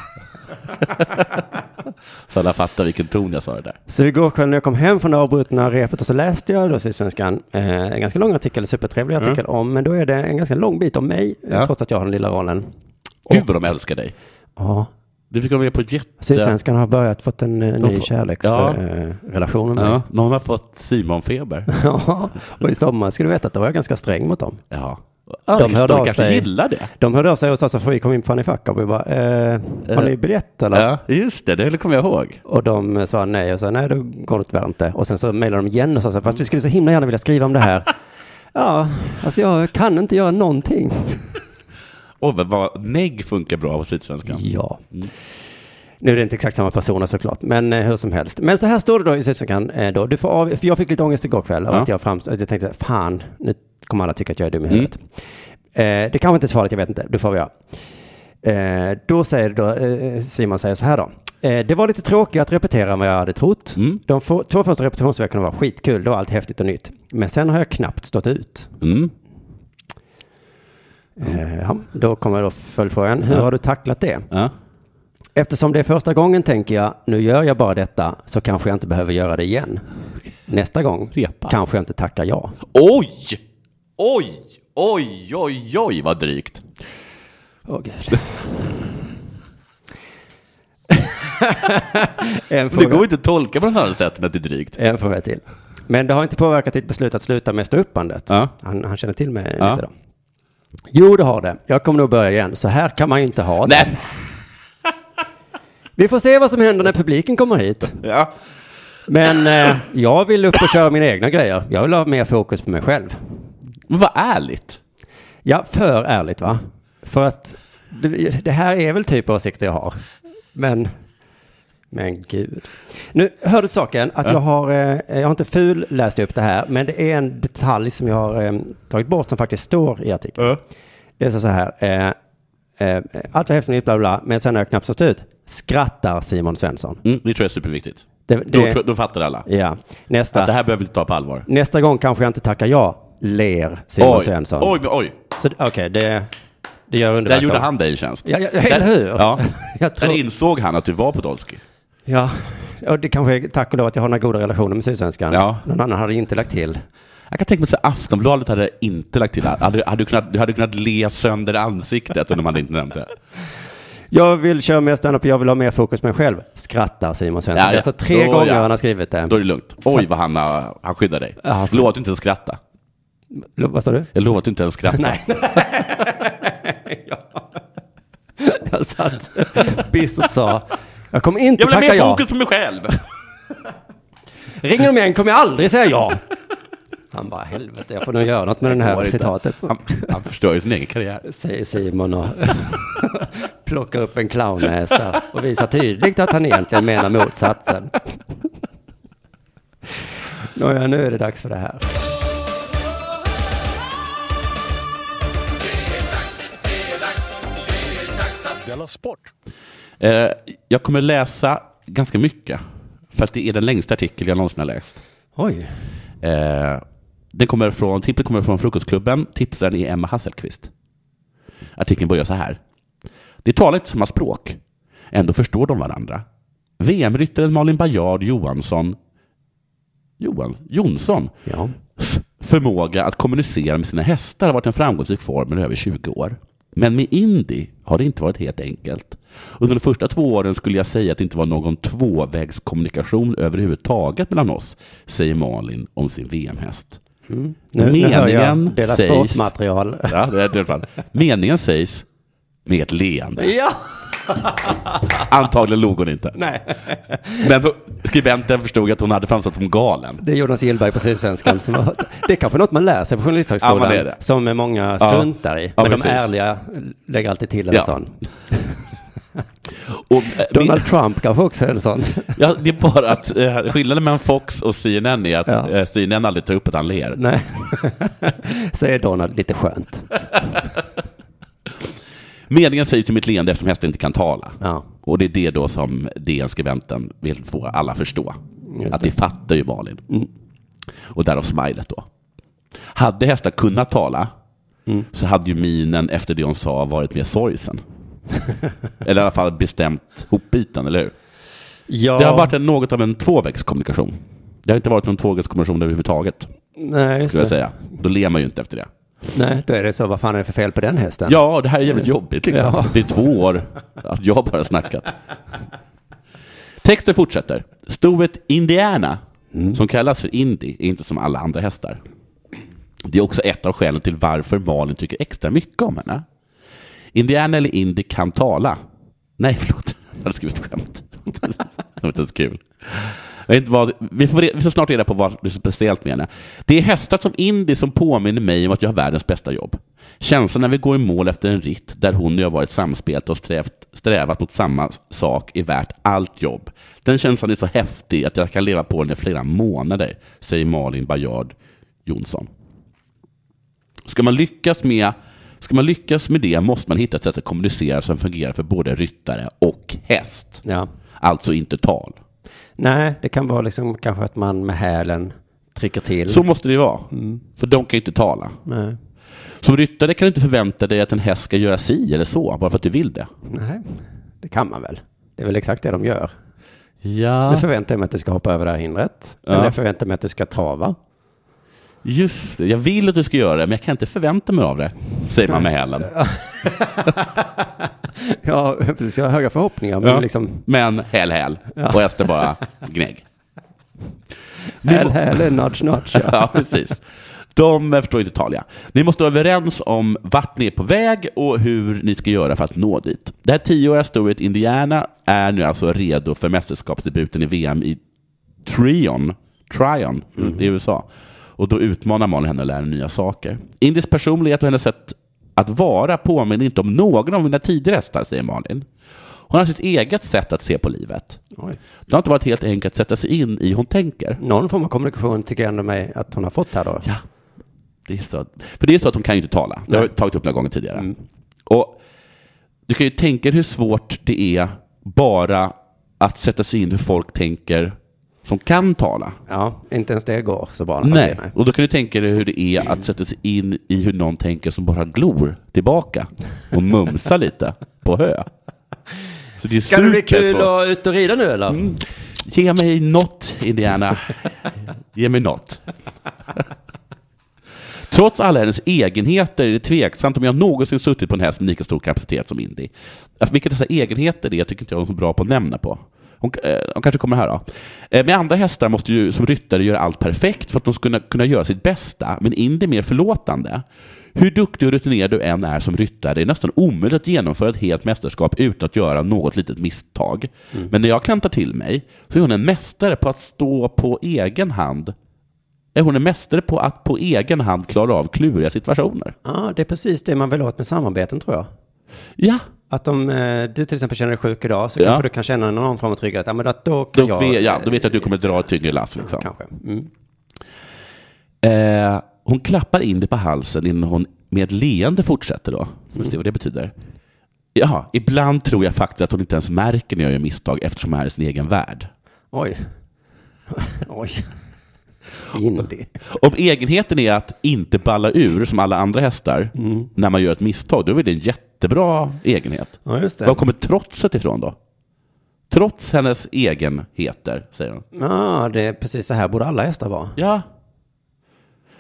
S2: så alla fattar vilken ton jag sa det där.
S1: Så igår kväll när jag kom hem från det avbrutna repet och så läste jag då Sydsvenskan eh, en ganska lång artikel, supertrevlig artikel om, men då är det en ganska lång bit om mig, eh,
S2: Ja.
S1: trots att jag har den lilla rollen.
S2: Gud vad de älskar dig.
S1: Ja,
S2: Du fick vara med på ett jätte...
S1: Sydsvenskan har börjat fått en eh, ny
S2: får-
S1: kärleksrelation ja. eh, relation med mig.
S2: Ja, någon har fått Simonfeber.
S1: Ja, och i sommar ska du veta att då var jag ganska sträng mot dem.
S2: Jaha.
S1: De
S2: de
S1: hörde
S2: de
S1: av
S2: kanske
S1: sig.
S2: gillar det.
S1: De hörde av sig och sa så får vi komma in på Fanny Fuck Up? Och vi bara, eh, har ni biljett eller?
S2: Ja, just det. Det kommer jag ihåg.
S1: Och de eh, sa nej och sa nej, då går det tyvärr inte. Och sen så mejlade de igen och sa så här, fast vi skulle så himla gärna vilja skriva om det här. ja, alltså jag kan inte göra någonting.
S2: Och vad- vad negg funkar bra på Sydsvenskan.
S1: Ja.
S2: Mm.
S1: Nu är det inte exakt samma personer såklart, men eh, hur som helst. Men så här står det då i Sydsvenskan eh, då. Du får av, för jag fick lite ångest igår kväll av
S2: Ja. Mm.
S1: att jag, frams, att jag tänkte, fan, nu kommer alla tycka att jag är dum i huvudet. Eh, det kanske inte är svaret, jag vet inte. Det får vi göra. Eh, då säger då, eh, Simon säger så här då. Eh, det var lite tråkigt att repetera än vad jag hade trott.
S2: Mm.
S1: De få, två första repetitionsveckorna var skitkul, det var allt häftigt och nytt. Men sen har jag knappt stått ut.
S2: Mm.
S1: Eh, ja, då kommer då följdfrågan, hur
S2: Ja.
S1: har du tacklat det?
S2: Ja.
S1: Eftersom det är första gången tänker jag, nu gör jag bara detta, så kanske jag inte behöver göra det igen. Nästa gång
S2: Repa.
S1: kanske jag inte tackar ja.
S2: Oj! Oj! Oj, oj, oj, vad drygt.
S1: Åh gud. en,
S2: Men det går
S1: fråga,
S2: ju inte att tolka på något annat sätt än att det är drygt.
S1: en fråga till. Men det har inte påverkat ditt beslut att sluta med ståuppandet.
S2: Ja.
S1: Han, han känner till mig
S2: Ja.
S1: lite då. Jo, det har det. Jag kommer nog börja igen. Så här kan man ju inte ha det.
S2: Nej!
S1: Vi får se vad som händer när publiken kommer hit.
S2: Ja.
S1: Men eh, jag vill upp och köra mina egna grejer. Jag vill ha mer fokus på mig själv.
S2: Men vad ärligt.
S1: Ja, för ärligt va? För att det, det här är väl typ av åsikter jag har. Men, men gud. Nu hör du saken att jag har, eh, jag har inte ful läst upp det här, men det är en detalj som jag har eh, tagit bort som faktiskt står i artikeln. Det är så så här, eh, eh, allt var häftigt och nytt, bla bla, bla, men sen har jag knappt stått ut. Skrattar Simon Svensson.
S2: Mm, det tror jag är superviktigt.
S1: Det,
S2: Då,
S1: det,
S2: tror- då fattar alla.
S1: ja,
S2: Att det
S1: nästa,
S2: här behöver vi inte ta på allvar.
S1: nästa gång kanske jag inte tackar ja, ler Simon
S2: Oj,
S1: Svensson.
S2: oj, men oj.
S1: Så okej, det, det gör underverk.
S2: Där gjorde
S1: av-
S2: han dig en tjänst.
S1: Ja, ja, ja, eller hur?
S2: Ja.
S1: Jag
S2: Där
S1: tror,
S2: insåg han att du var Podolsky.
S1: ja, och det kanske är tack och lov att jag har några goda relationer med Sydsvenskan.
S2: Ja.
S1: Någon annan hade inte lagt till.
S2: Jag kan tänka mig att Aftonbladet hade inte lagt till det. Hade, hade du, kunnat, du hade kunnat le sönder ansiktet om de hade inte nämnt det.
S1: Jag vill köra mer standup, jag vill ha mer fokus på mig själv. Skrattar Simon Svensson.
S2: Ja, ja.
S1: Alltså tre
S2: Då,
S1: gånger
S2: ja.
S1: han har skrivit det.
S2: Då är det lugnt. Oj, vad han, har- han skyddar dig.
S1: Ja, för-
S2: Lova att du inte ens skratta.
S1: Lo- Vad sa du?
S2: Jag lovar att du inte ens skratta.
S1: Nej. Jag satt bistert sa, jag kommer inte
S2: Jag vill ha
S1: tacka
S2: mer
S1: ja.
S2: fokus på mig själv.
S1: Ringer de igen kommer jag aldrig säga ja. Han bara, helvete, jag får nog göra något med det
S2: Går
S1: här
S2: inte.
S1: citatet.
S2: Han, han förstör ju sin egen karriär.
S1: säger Simon och plockar upp en clownnäsa och visar tydligt att han egentligen menar motsatsen. Nåja, nu är det dags för det här.
S3: Della Sport!
S2: Eh, jag kommer läsa ganska mycket. För att det är den längsta artikel jag någonsin har läst.
S1: Oj,
S2: Eh, den kommer från, tipset kommer från Frukostklubben. Tipsaren är Emma Hasselqvist. Artikeln börjar så här. De talar inte samma språk. Ändå förstår de varandra. VM-ryttaren Malin Bajard Johansson Johan, Jonsson
S1: ja.
S2: S förmåga att kommunicera med sina hästar har varit en framgångsrik form i över 20 år. Men med Indy har det inte varit helt enkelt. Under de första två åren skulle jag säga att det inte var någon tvåvägskommunikation överhuvudtaget mellan oss, säger Malin om sin VM-häst.
S1: Nu, nu hör jag
S2: Meningen
S1: deras
S2: sägs-
S1: sportmaterial.
S2: Ja, det är det i alla fall. Meningen sägs med ett leende.
S1: Ja,
S2: Antagligen log hon inte.
S1: nej.
S2: Men skribenten förstod att hon hade framstått som galen.
S1: Det är Jonas Gillberg på Sydsvenskan. Som har, det är kanske något man lär sig på
S2: Ja,
S1: Journalisthögskolan
S2: men det är det.
S1: som många struntar i.
S2: Ja,
S1: Men de
S2: precis.
S1: ärliga lägger alltid till en
S2: Ja.
S1: sån.
S2: Och, eh, min-
S1: Donald Trump kanske också är en sån.
S2: Ja, det är bara att eh, skillnaden mellan Fox och CNN är att
S1: Ja.
S2: eh, CNN aldrig tar upp att han ler.
S1: Nej, säger Donald lite skönt.
S2: Meningen sägs till mitt leende eftersom hästen inte kan tala.
S1: Ja.
S2: Och det är det då som DN-skribenten vill få alla förstå.
S1: Just Mm.
S2: att vi fattar ju Malin. Och därav smilet då.
S1: Mm.
S2: Hade hästar kunnat tala så hade ju minen efter det hon sa varit mer sorgsen. Eller i alla fall bestämt hopbiten, eller hur?
S1: Ja,
S2: Det har varit en, något av en tvåvägskommunikation. Det har inte varit någon tvåvägskommunikation överhuvudtaget,
S1: nej, just
S2: skulle jag
S1: det.
S2: säga. Då ler man ju inte efter det.
S1: nej, då är det så, vad fan är det för fel på den hästen?
S2: Ja, det här är jävligt jobbigt liksom.
S1: Ja.
S2: Det är två år att jag bara snackat. Texten fortsätter. Stoet Indiana,
S1: Mm.
S2: som kallas för Indy, är inte som alla andra hästar. Det är också ett av skälen till varför Malin tycker extra mycket om henne. Indiana eller Indy kan tala. Nej, förlåt. Jag hade skrivit ett skämt. Det var inte ens kul. Jag vet inte vad, vi, får, re- vi får snart reda på vad det är så speciellt med henne. Det är hästar som Indy som påminner mig om att jag har världens bästa jobb. Känslan när vi går i mål efter en ritt där hon och jag varit samspelt och strävt, strävat mot samma sak är värt allt jobb. Den känslan är så häftig att jag kan leva på den i flera månader, säger Malin Bajard Jonsson. Ska man lyckas med, ska man lyckas med det måste man hitta ett sätt att kommunicera som fungerar för både ryttare och häst.
S1: Ja.
S2: Alltså inte tal.
S1: Nej, det kan vara liksom kanske att man med hälen trycker till.
S2: Så måste det vara. För de kan ju inte tala.
S1: Mm. Nej.
S2: Som ryttare kan du inte förvänta dig att en häst ska göra si eller så, bara för att du vill det.
S1: nej, det kan man väl. Det är väl exakt det de gör. Nu
S2: Ja,
S1: förväntar jag mig att du ska hoppa över det här hindret.
S2: Ja.
S1: Eller jag förväntar mig att du ska trava.
S2: just det. Jag vill att du ska göra det, men jag kan inte förvänta mig av det, säger man med hälen.
S1: Ja, precis. Jag har höga förhoppningar, men
S2: Ja.
S1: liksom
S2: Men häl, häl. Och hästen bara gnägg.
S1: häl, häl, nudge, nudge. Ja.
S2: Ja, precis. De förstår inte tal, ja. Ni måste vara överens om vart ni är på väg och hur ni ska göra för att nå dit. Det här tioåriga stoet Indiana är nu alltså redo för mästerskapsdebuten i VM i Trion, Tryon i USA. Och då utmanar Malin henne att lära henne nya saker. Indis personlighet och hennes sätt att vara påminner inte om någon av mina tidigare hästar, säger Malin. Hon har sitt eget sätt att se på livet.
S1: Oj.
S2: Det har inte varit helt enkelt att sätta sig in i hur hon tänker.
S1: Någon form av kommunikation tycker jag ändå mig att hon har fått här då.
S2: Ja. Det är så att, för det är så att hon kan ju inte tala. Det har jag tagit upp några gånger tidigare.
S1: Mm.
S2: Och du kan ju tänka dig hur svårt det är bara att sätta sig in hur folk tänker som kan tala.
S1: Ja, alltså, inte ens det går så bra.
S2: Nej.
S1: Okej,
S2: Och då kan du tänka dig hur det är att sätta sig in i hur någon tänker som bara glor tillbaka och mumsar lite på hö. Så det är
S1: Ska det bli kul
S2: supersvårt.
S1: att ut och rida nu eller?
S2: Ge mig något, Indiana. Ge mig något. Trots alla hennes egenheter är det tveksamt om jag någonsin suttit på en häst med lika stor kapacitet som Indy. Alltså, Vilka dessa egenheter det är tycker inte jag hon är så bra på att nämna på. Hon, eh, hon kanske kommer här då. Eh, med andra hästar måste ju som ryttare göra allt perfekt för att de ska kunna, kunna göra sitt bästa, men Indy är mer förlåtande. Hur duktig och rutinerad du än är som ryttare, det är nästan omöjligt att genomföra ett helt mästerskap utan att göra något litet misstag. Men när jag klantar till mig så är hon en mästare på att stå på egen hand är hon en mästare på att på egen hand klara av kluriga situationer.
S1: Ja, det är precis det man vill åt med samarbeten tror jag.
S2: Ja,
S1: Att om eh, du till exempel känner dig sjuk idag så
S2: Ja.
S1: kanske du kan känna någon form av trygghet. Ja, men då, då
S2: då,
S1: kan jag...
S2: vet, ja, eh, då vet jag att du kommer dra ett tyngre lass. Liksom.
S1: Kanske. Mm.
S2: Eh, hon klappar in det på halsen innan hon med ett leende fortsätter då. Vi får se vad det betyder. Ja, ibland tror jag faktiskt att hon inte ens märker när jag gör misstag eftersom hon är i sin egen värld.
S1: Oj. Oj. Indie.
S2: Om egenheten är att inte balla ur som alla andra hästar när man gör ett misstag, då är det en jättebra egenhet.
S1: Ja, just
S2: Var
S1: det.
S2: kommer trotset ifrån då? Trots hennes egenheter, säger hon.
S1: Ja, det är precis så här borde alla hästar vara.
S2: Ja.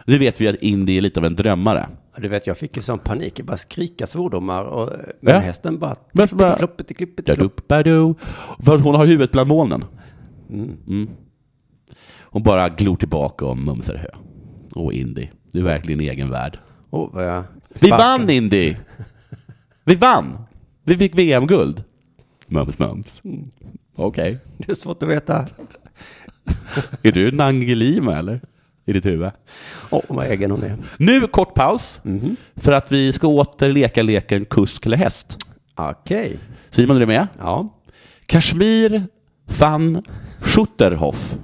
S2: Nu vet vi att Indy är lite av en drömmare.
S1: Ja, Du vet, jag fick ju sån panik. Jag bara skrika svordomar. Och, men
S2: Ja.
S1: hästen bara...
S2: Men så bara-
S1: Klippet, klippet, klippet.
S2: Dadubadu. För hon har huvudet bland molnen. Mm. Hon bara glor tillbaka och mumsar hö. Åh Indy, du är verkligen i egen värld.
S1: Oh, vad jag
S2: Vi
S1: sparkar.
S2: vann Indy! Vi vann! Vi fick VM-guld. Mums, mums. Mm. Okej.
S1: Det är svårt att veta.
S2: Är du Nangilima eller? I ditt huvud?
S1: Åh, vad egen hon är.
S2: Nu kort paus. För att vi ska åter leka leken kusk eller häst.
S1: Okej.
S2: Simon, är du med?
S1: Ja.
S2: Kashmir van Schutterhoff.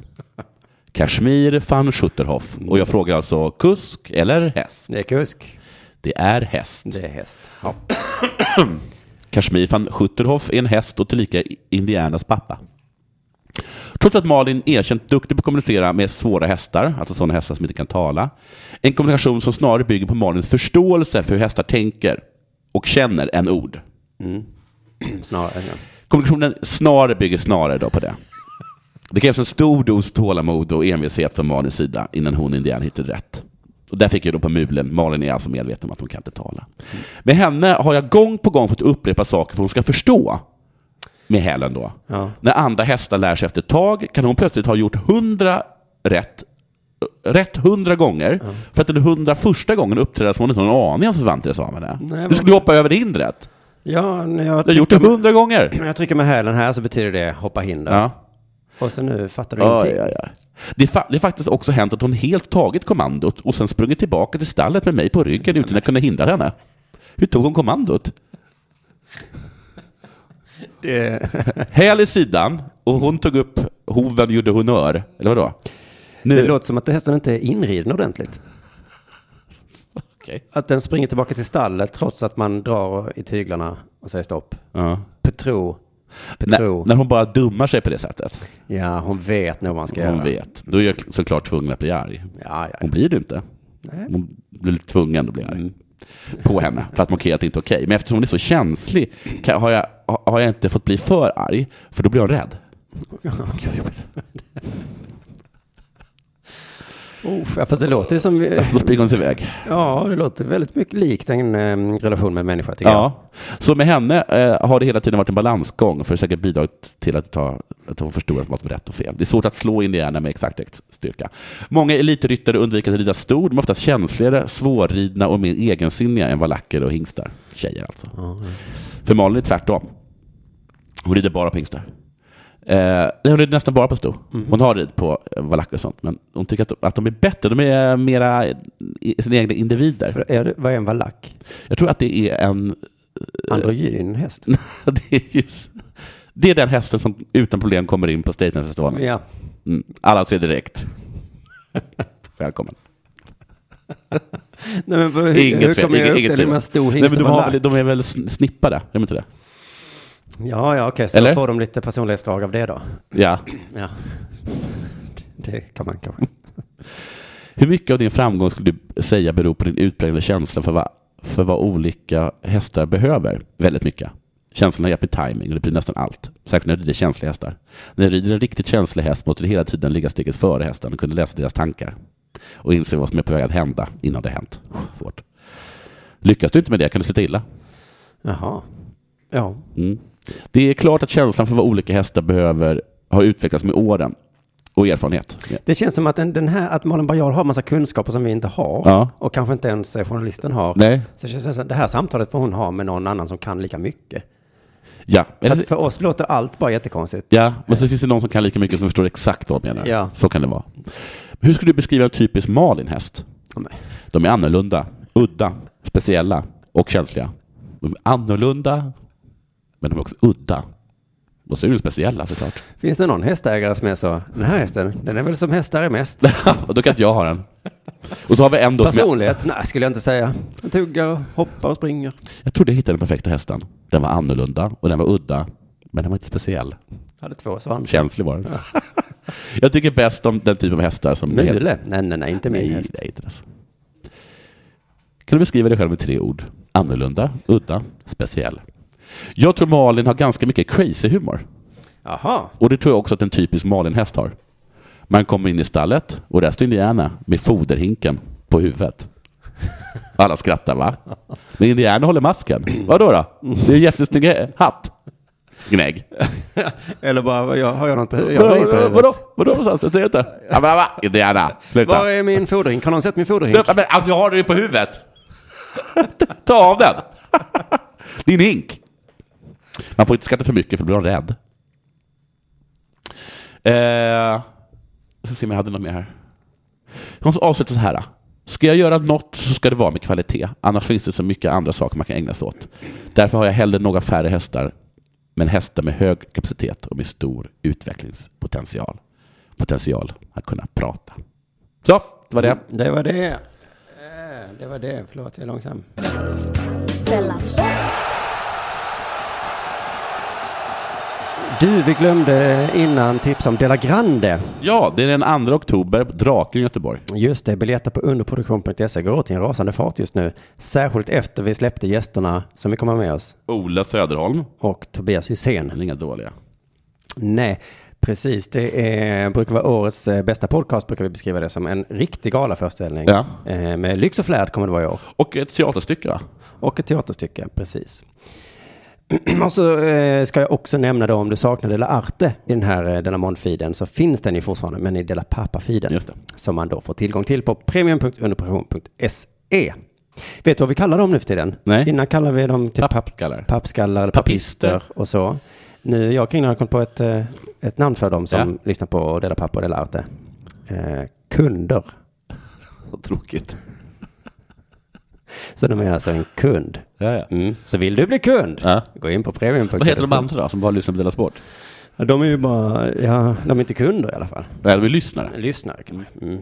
S2: Kashmir van Schutterhoff. Och jag frågar alltså kusk eller häst?
S1: Det är kusk.
S2: Det är häst.
S1: Det är häst. Ja.
S2: Kashmir van Schutterhoff är en häst och tillika Indianas pappa. Trots att Malin erkänt duktig på att kommunicera med svåra hästar, alltså sådana hästar som inte kan tala, en kommunikation som snarare bygger på Malins förståelse för hur hästar tänker och känner än ord.
S1: Snarare. Ja.
S2: Kommunikationen snarare bygger snarare då på det. Det krävs en stor dos tålamod och envishet från Malins sida innan hon indian hittade rätt. Och där fick jag då på mulen, Malin är alltså medveten om att hon kan inte tala. Med henne har jag gång på gång fått upprepa saker för att hon ska förstå. Med hälen då.
S1: Ja.
S2: När andra hästar lär sig efter ett tag kan hon plötsligt ha gjort hundra rätt rätt hundra gånger för att den hundra första gången uppträda som hon inte har någon aning om för Svante Svanen
S1: Nej,
S2: Du
S1: men-
S2: skulle hoppa över hindret.
S1: Ja, när jag,
S2: Du har gjort det hundra gånger.
S1: när jag trycker med hälen här så betyder det hoppa hinder.
S2: Ja.
S1: Och så nu fattar du
S2: Ja,
S1: ingenting.
S2: ja, ja. Det, är fa- det är faktiskt också hänt att hon helt tagit kommandot och sen sprungit tillbaka till stallet med mig på ryggen utan att kunna hindra henne. Hur tog hon kommandot?
S1: Det...
S2: Häl i sidan och hon tog upp hoven och gjorde honör. Eller vadå? Nu.
S1: det låter som att hästen inte är inriden ordentligt.
S2: Okej.
S1: Att den springer tillbaka till stallet trots att man drar i tyglarna och säger stopp.
S2: Ja.
S1: Petro. Petro.
S2: När, när hon bara dummar sig på det sättet.
S1: Ja, hon vet nog vad man ska
S2: Hon
S1: göra.
S2: vet. Då är jag såklart tvungen att bli arg.
S1: Ja, ja.
S2: Hon blir det inte. Hon blir lite tvungen att bli arg
S1: Mm.
S2: på henne för att markera att det inte är okej. Men eftersom hon är så känslig kan, har, jag, har jag inte fått bli för arg, för då blir hon rädd. Gud, vad jobbigt.
S1: Uff, ja, fast det låter ju som... vi-
S2: Då springer hon sig iväg.
S1: Ja, det låter väldigt mycket likt en eh, relation med en människa tycker jag.
S2: Ja. Så med henne eh, har det hela tiden varit en balansgång för att säkert bidragit till att, ta, att hon förstår vad som är rätt och fel. Det är svårt att slå indianer med exakt ex- styrka. Många elitryttare undviker att rida stor. De är oftast känsligare, svårridna och mer egensinniga än valacker och hingstar. Tjejer alltså. För Malin är tvärtom. Hon rider bara på hingstar. Eh, nej, hon rider nästan bara på sto. Hon har rid på eh, valacker och sånt, men hon tycker att de, att de är bättre. De är mera eh, i- sina egna individer.
S1: För är det, vad är en valack?
S2: Jag tror att det är en Eh.
S1: Androgyn häst?
S2: det, är just, det är den hästen som utan problem kommer in på Statenfestivalen.
S1: Ja.
S2: Mm. Alla ser direkt. Välkommen.
S1: Nej, men hur,
S2: Inget
S1: hur kommer jag
S2: tvivel,
S1: upp
S2: inget
S1: till
S2: tvivel.
S1: med stor
S2: Nej,
S1: hingst
S2: men
S1: och
S2: de, har
S1: valack?
S2: väl, de är väl sn- snippade? Är de inte det?
S1: Ja, ja, okej, så
S2: Eller?
S1: får de lite personlighetsdrag av det då.
S2: Ja.
S1: Ja. Det kan man kanske.
S2: Hur mycket av din framgång skulle du säga beror på din utpräglade känsla för vad, för vad olika hästar behöver? Väldigt mycket. Känslan har hjälpt med timing och det blir nästan allt. Särskilt när du rider känsliga hästar. När du rider en riktigt känslig häst måste du hela tiden ligga steget före hästen och kunna läsa deras tankar och inse vad som är på väg att hända innan det hänt. Svårt. Lyckas du inte med det kan du sluta illa.
S1: Jaha. Ja.
S2: Mm. Det är klart att känslan för vad olika hästar behöver har utvecklats med åren och erfarenhet.
S1: Det känns som att, den, den här, att Malin Baryard har massa kunskaper som vi inte har.
S2: Ja.
S1: Och kanske inte ens eh, journalisten har.
S2: Nej.
S1: Så det känns det som att det här samtalet får hon ha med någon annan som kan lika mycket.
S2: Ja.
S1: För, att för oss låter allt bara jättekonstigt.
S2: Ja, men så finns det någon som kan lika mycket som förstår exakt vad de menar.
S1: Ja.
S2: Så kan det vara. Hur skulle du beskriva en typisk Malin-häst?
S1: Nej.
S2: De är annorlunda, udda, speciella och känsliga. De är annorlunda, men de är också udda. Och så är de speciella såklart.
S1: Finns det någon hästägare som är så, den här hästen, den är väl som hästar är mest.
S2: och då kan inte jag ha den. Och så har vi en då som jag,
S1: Personlighet? Nej, skulle jag inte säga. Den tuggar, och hoppar och springer.
S2: jag trodde jag hittade den perfekta hästen. Den var annorlunda och den var udda, men den var inte speciell.
S1: Hade två svansar.
S2: Känslig var den. jag tycker bäst om den typen av hästar som...
S1: Mule? Nej, nej, nej, inte min
S2: Nej,
S1: häst.
S2: det är inte det. Kan du beskriva dig själv med tre ord? Annorlunda, udda, speciell. Jag tror Malin har ganska mycket crazy humor.
S1: Jaha.
S2: Och det tror jag också att en typisk Malin-häst har. Man kommer in i stallet och där står Indiana med foderhinken på huvudet. Alla skrattar va? Men Indiana håller masken. Vadå då? Det är en jättesnygg hatt. Gnägg.
S1: Eller bara, vad jag, har jag något på huvudet? Jag har
S2: Vadå?
S1: inget på
S2: Vadå?
S1: huvudet.
S2: Vadå? Vadå någonstans? Jag ser inte. Ja, men, va? Indiana, sluta.
S1: Var är min fodring? Har någon sett min fodring?
S2: Du, men, att jag har den på huvudet! Ta av den! Din hink! Man får inte skratta för mycket för då blir de rädd. Eh, ska se om jag hade något mer här. Hon avslutar så här. Ska jag göra något så ska det vara med kvalitet. Annars finns det så mycket andra saker man kan ägna sig åt. Därför har jag hellre några färre hästar. Men hästar med hög kapacitet och med stor utvecklingspotential. Potential att kunna prata. Så, det var det.
S1: Mm, Det var det. Eh, Det var det. Förlåt, jag är långsam.
S4: Della Sport.
S1: Du, vi glömde innan tipsa om Dela Grande.
S2: Ja, det är den 2 oktober, på Draken i Göteborg.
S1: Just det, biljetter på underproduktion.se E går åt i en rasande fart just nu. Särskilt efter vi släppte gästerna som vi kommer med oss
S2: Ola Söderholm.
S1: och Tobias Hysén.
S2: Den är inga dåliga.
S1: Nej, precis. Det är, brukar vara årets eh, bästa podcast, brukar vi beskriva det som. En riktig galaföreställning.
S2: Ja.
S1: Eh, med lyx och flärd kommer det vara i år.
S2: Och ett teaterstycke va?
S1: Och ett teaterstycke, precis. Och så eh, ska jag också nämna då om du saknar Dela Arte i den här eh, Dela Mon-feeden så finns den ju fortfarande men i Dela Pappa-feeden.
S2: Just det.
S1: Som man då får tillgång till på premium.underproduktion.se. E. Vet du vad vi kallar dem nu för tiden?
S2: Nej.
S1: Innan kallade vi dem till papp-
S2: Pappskallar.
S1: pappskallar eller
S2: Papister.
S1: papister. och så. Nu, jag och Kringlan har kommit på ett, eh, ett namn för dem som lyssnar på Dela Pappa och Dela Arte. Eh, kunder.
S2: Vad tråkigt.
S1: Så de är alltså en kund.
S2: Ja, ja.
S1: Mm. Så vill du bli kund,
S2: Ja.
S1: gå in på premium.se.
S2: Vad heter de andra då, som bara lyssnar på Dela Sport?
S1: Ja, De är ju bara, ja, de är inte kunder i alla fall.
S2: Nej, de är lyssnare.
S1: Lyssnare kan man. Mm.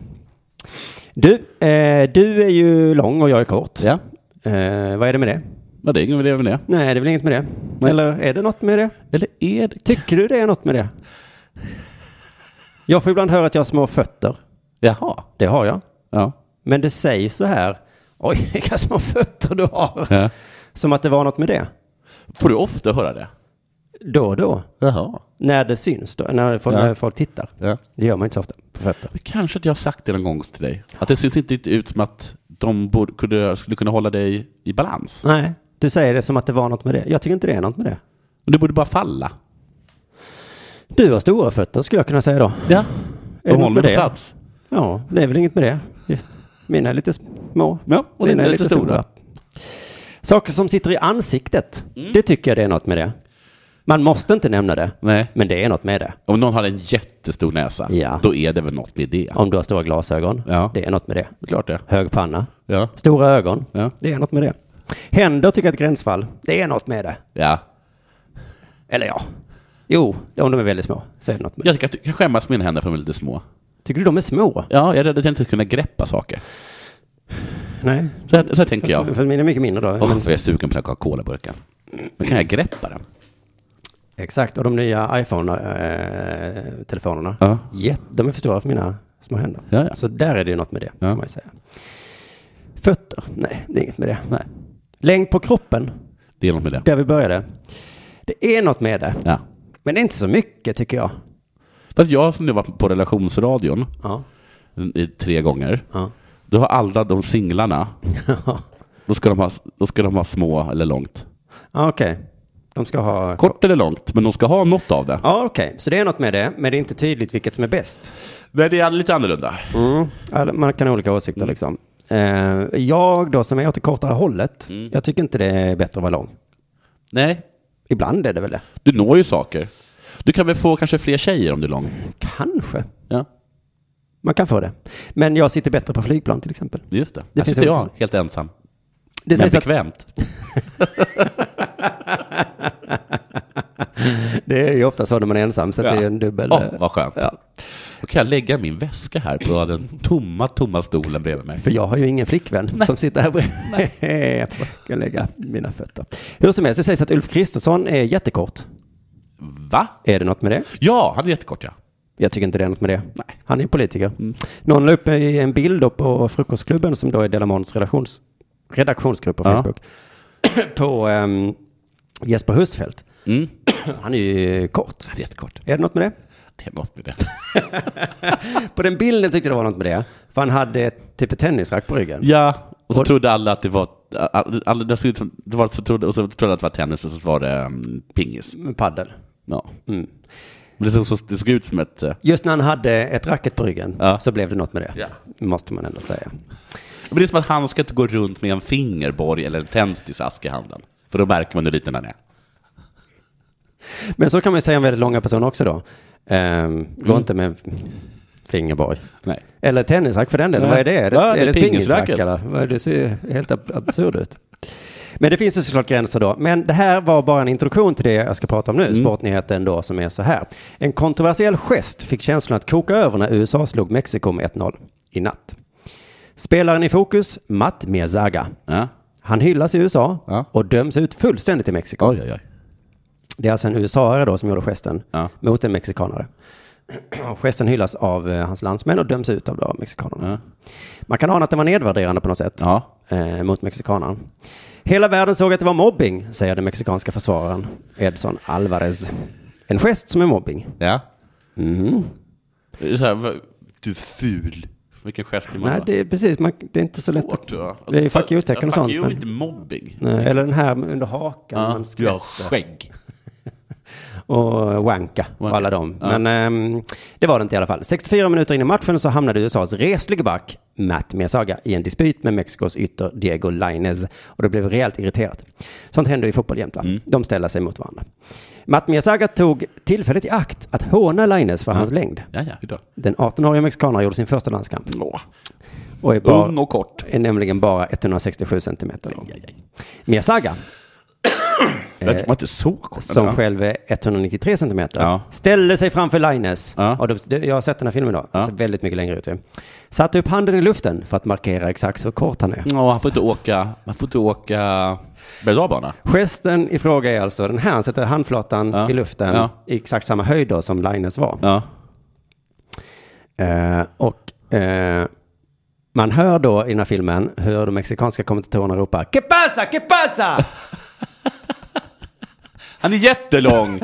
S1: Du, eh, du är ju lång och jag är kort.
S2: Ja,
S1: Eh, vad är det med det?
S2: men det är ingen idé med det.
S1: Nej, det är väl inget med det.
S2: Nej.
S1: Eller är det något med det?
S2: Eller är det?
S1: Tycker du det är något med det? Jag får ibland höra att jag har små fötter.
S2: Jaha.
S1: Det har jag.
S2: Ja.
S1: Men det sägs så här. Oj, vilka små fötter du har.
S2: ja.
S1: Som att det var något med det.
S2: Får du ofta höra det?
S1: Då och då.
S2: Jaha.
S1: När det syns då. När folk,
S2: Ja.
S1: när folk tittar.
S2: Ja.
S1: Det gör man inte så ofta på fötter.
S2: Men Kanske att jag har sagt det någon gång till dig. Att det syns inte ut som att de borde, kunde, skulle kunna hålla dig i balans.
S1: Nej, du säger det som att det var något med det. Jag tycker inte det är något med det.
S2: Men du borde bara falla.
S1: Du har stora fötter skulle jag kunna säga då.
S2: Ja.
S1: Är
S2: De
S1: det något
S2: håller
S1: med
S2: på
S1: det?
S2: plats.
S1: Ja, det är väl inget med det. Mina är lite små.
S2: Ja, och
S1: Mina
S2: dina är lite stora.
S1: Saker som sitter i ansiktet,
S2: Mm.
S1: det tycker jag det är något med det. Man måste inte nämna det,
S2: Nej.
S1: men det är något med det.
S2: Om någon har en jättestor näsa,
S1: Ja.
S2: då är det väl något med det.
S1: Om du har stora glasögon,
S2: Ja.
S1: det är något med det.
S2: Det är Klart det.
S1: Hög panna,
S2: Ja.
S1: stora ögon,
S2: Ja.
S1: det är något med det. Händer tycker jag är ett gränsfall, det är något med det.
S2: ja.
S1: Eller ja, jo, om de är väldigt små så är det något med det.
S2: Jag tycker att jag kan skämmas med mina händer för de är lite små.
S1: Tycker du de är små?
S2: Ja, jag är rädd att jag inte ska kunna greppa saker.
S1: Nej.
S2: Så här, så här tänker jag.
S1: För mina är mycket mindre då.
S2: Åh,
S1: Men,
S2: vad jag är sugen på den här Coca-Cola-burken. Men kan jag greppa den?
S1: exakt, och de nya iPhone-telefonerna.
S2: Ja.
S1: Jätte, de är för stora för mina små händer.
S2: Ja, ja.
S1: Så där är det ju något med det,
S2: Ja.
S1: kan man ju säga. Fötter, nej, det är inget med det.
S2: Nej,
S1: Längd på kroppen,
S2: det är något med det.
S1: där vi började. Det är något med det,
S2: Ja.
S1: men det är inte så mycket tycker jag.
S2: Fast jag som nu var på relationsradion mm,
S1: Ja,
S2: i tre gånger,
S1: ja.
S2: då har alla de singlarna, då ska de ha, då ska de ha små eller långt.
S1: ja okej. De ska ha...
S2: Kort eller långt, men de ska ha något av det.
S1: Ja, okej. Så det är något med det, men det är inte tydligt vilket som är bäst.
S2: Nej, det är lite annorlunda.
S1: Ja, Man kan ha olika åsikter
S2: Mm.
S1: liksom. Eh, Jag då, som är åt det kortare hållet,
S2: Mm.
S1: jag tycker inte det är bättre att vara lång.
S2: Nej,
S1: Ibland är det väl det.
S2: du når ju saker. Du kan väl få kanske fler tjejer om du är lång?
S1: Kanske.
S2: Ja,
S1: Man kan få det. Men jag sitter bättre på flygplan till exempel.
S2: just det.
S1: Det
S2: Här
S1: finns
S2: sitter
S1: ju-
S2: jag helt ensam.
S1: Det
S2: men
S1: sägs att
S2: bekvämt.
S1: det är ju ofta så när man är ensam, så att
S2: Ja.
S1: det är en dubbel... eh,
S2: Åh, vad skönt.
S1: Ja.
S2: Då kan jag lägga min väska här på den tomma, tomma stolen bredvid mig.
S1: För jag har ju ingen flickvän som sitter här bredvid. jag kan lägga mina fötter. Hur som helst, det sägs att Ulf Kristersson är jättekort.
S2: Va?
S1: Är det något med det?
S2: Ja, han är jättekort ja.
S1: Jag tycker inte det är något med det. Han är politiker.
S2: Mm.
S1: Någon la upp en bild då på Frukostklubben som då är Delamons redaktions, redaktionsgrupp på
S2: Ja.
S1: Facebook. på ehm, Jesper Husfeldt.
S2: Mm.
S1: Han är ju kort.
S2: Han är jättekort.
S1: Är det något med det?
S2: Det är något med det.
S1: På den bilden tyckte jag det var något med det. För han hade ett- typ ett tennisrack på ryggen.
S2: Ja, och så trodde alla att det var... Alla, alla, det såg ut som, det var så trodde, och så trodde alla att det var tennis och så var det um, pingis.
S1: Med Paddel.
S2: Ja.
S1: Mm.
S2: Men det såg, så, det såg ut som ett... eh,
S1: Just när han hade ett racket på ryggen
S2: Ja.
S1: så blev det något med det.
S2: Ja.
S1: Måste man ändå säga.
S2: Men det är som att han ska inte gå runt med en fingerborg eller en tändsticksask i handen. För då märker man hur liten han är.
S1: Men så kan man ju säga om väldigt långa personer också då. Ehm, gå
S2: Mm.
S1: inte med fingerborg.
S2: Nej.
S1: Eller tennisrack för den delen.
S2: Nej.
S1: Vad är det? Är det,
S2: Ja, det
S1: är
S2: är
S1: det ett pingisrack
S2: pingisracket.
S1: eller? Vad är Det Det ser ju helt ab- absurd ut. Men det finns ju såklart gränser då. Men det här var bara en introduktion till det jag ska prata om nu, sportnyheten då som är så här. En kontroversiell gest fick känslan att koka över när USA slog Mexiko med 1-0 i natt. Spelaren i fokus, Matt Mezaga.
S2: Ja.
S1: Han hyllas i USA
S2: Ja.
S1: och döms ut fullständigt i Mexiko.
S2: Oj, oj, oj.
S1: Det är alltså en USA-are då som gjorde gesten
S2: Ja.
S1: mot en mexikanare. Och gesten hyllas av eh, hans landsmän och döms ut av då, mexikanerna.
S2: Ja.
S1: Man kan ana att den var nedvärderande på något sätt
S2: Ja.
S1: eh, mot mexikanaren. Hela världen såg att det var mobbing, säger den mexikanska försvararen Edson Alvarez. En gest som är mobbing.
S2: ja.
S1: Mm.
S2: Det är Så här, va- du är ful. Vilken gest är man
S1: Nej,
S2: då?
S1: det är precis, man, det är inte så lätt
S2: Hårt,
S1: att...
S2: tror jag.
S1: det är ju
S2: Alltså,
S1: fuck you-tecken och
S2: fuck
S1: sånt,
S2: you
S1: men-
S2: är inte mobbing.
S1: Nej, Eller den här under hakan.
S2: Ja,
S1: man
S2: du har
S1: skvätter.
S2: skägg.
S1: och Wanka och
S2: Wanka.
S1: alla dem.
S2: Ja.
S1: Men ehm, det var det inte i alla fall. 64 minuter in i matchen så hamnade USAs reslige back Matt Mesaga i en dispyt med Mexikos ytter Diego Lainez och det blev rejält irriterat. Sånt händer i fotboll jämt va?
S2: Mm.
S1: De ställer sig mot varandra. Matt Mesaga tog tillfället i akt att håna Lainez för hans längd.
S2: Ja, ja. Idag.
S1: Den 18-åriga mexikanaren gjorde sin första landskamp
S2: Åh,
S1: och är, bara,
S2: Ung och kort.
S1: är nämligen bara 167 centimeter lång. Mesaga
S2: Det var inte så kort.
S1: som
S2: Ja.
S1: själv är 193 centimeter,
S2: Ja.
S1: ställde sig framför Linus.
S2: Ja.
S1: Och de, det- jag har sett den här filmen då, ja. ser väldigt mycket längre ut ju. Satte upp handen i luften för att markera exakt hur kort han är.
S2: Ja, han får inte åka, han får inte åka berg
S1: Gesten i fråga är alltså den här, han sätter handflatan
S2: Ja.
S1: i luften
S2: Ja.
S1: i exakt samma höjd då som Linus var.
S2: Ja.
S1: Eh, och eh, man hör då i den här filmen hur de mexikanska kommentatorerna ropar Que pasa, que pasa!
S2: Han är jättelång!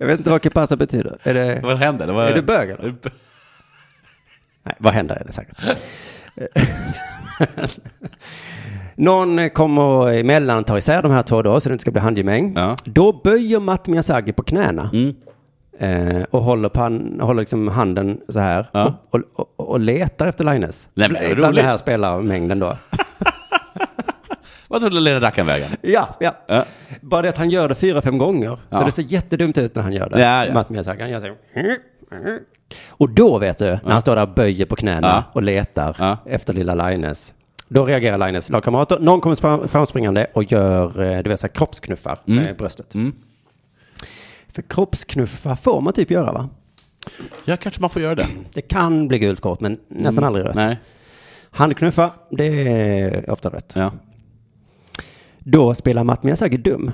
S1: jag vet inte vad que pasa betyder. Är det...
S2: Vad händer? Det var...
S1: Är du bög, eller? Nej, vad händer är det säkert. Någon kommer emellan och tar isär de här två då, så det inte ska bli handgemäng.
S2: Ja.
S1: Då böjer Matt Miyazaki på knäna.
S2: Mm.
S1: Eh, och håller, pan, håller liksom handen så här.
S2: Ja.
S1: Och, och, och, och letar efter Linus.
S2: Nej, men det är
S1: Bland
S2: roligt.
S1: den här spelarmängden då.
S2: Vad tog Lena Dackan vägen?
S1: ja, ja.
S2: Ja.
S1: Bara det att han gör det fyra, fem gånger. Så
S2: Ja.
S1: det ser jättedumt ut när han gör det.
S2: Ja, ja.
S1: Matt Miyazaki, han gör så här. Och då vet du, när han står där och böjer på knäna
S2: Ja.
S1: och letar
S2: Ja.
S1: efter lilla Linus. Då reagerar Linus lagkamrater. Någon kommer spra- framspringande och gör eh, du vet, så här, kroppsknuffar med bröstet. För kroppsknuffar får man typ göra va?
S2: Ja, kanske man får göra det.
S1: Det kan bli gult kort men nästan aldrig rött.
S2: Nej.
S1: Handknuffar, det är ofta rött.
S2: Ja.
S1: Då spelar Matt Miyazaki dum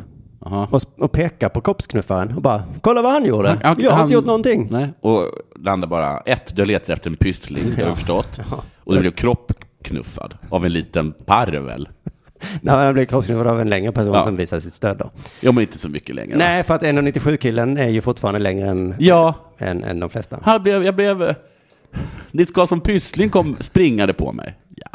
S2: Aha.
S1: och, och pekar på kroppsknuffaren och bara kolla vad han gjorde.
S2: Han-
S1: Jag har
S2: han-
S1: inte gjort någonting.
S2: Nej. Och landar bara, ett, jag letar efter en pyssling, det har jag förstått. Och det blev kroppknuffad av en liten parvel.
S1: Nej, men han blev kroppsknuffad av en längre person
S2: Ja.
S1: som visar sitt stöd då.
S2: Ja, men inte så mycket längre. va?
S1: Nej, för att 1,97-killen är ju fortfarande längre än,
S2: Ja,
S1: än, än de flesta.
S2: han blev, jag blev... Ditt gas som pyssling kom springande på mig. Ja.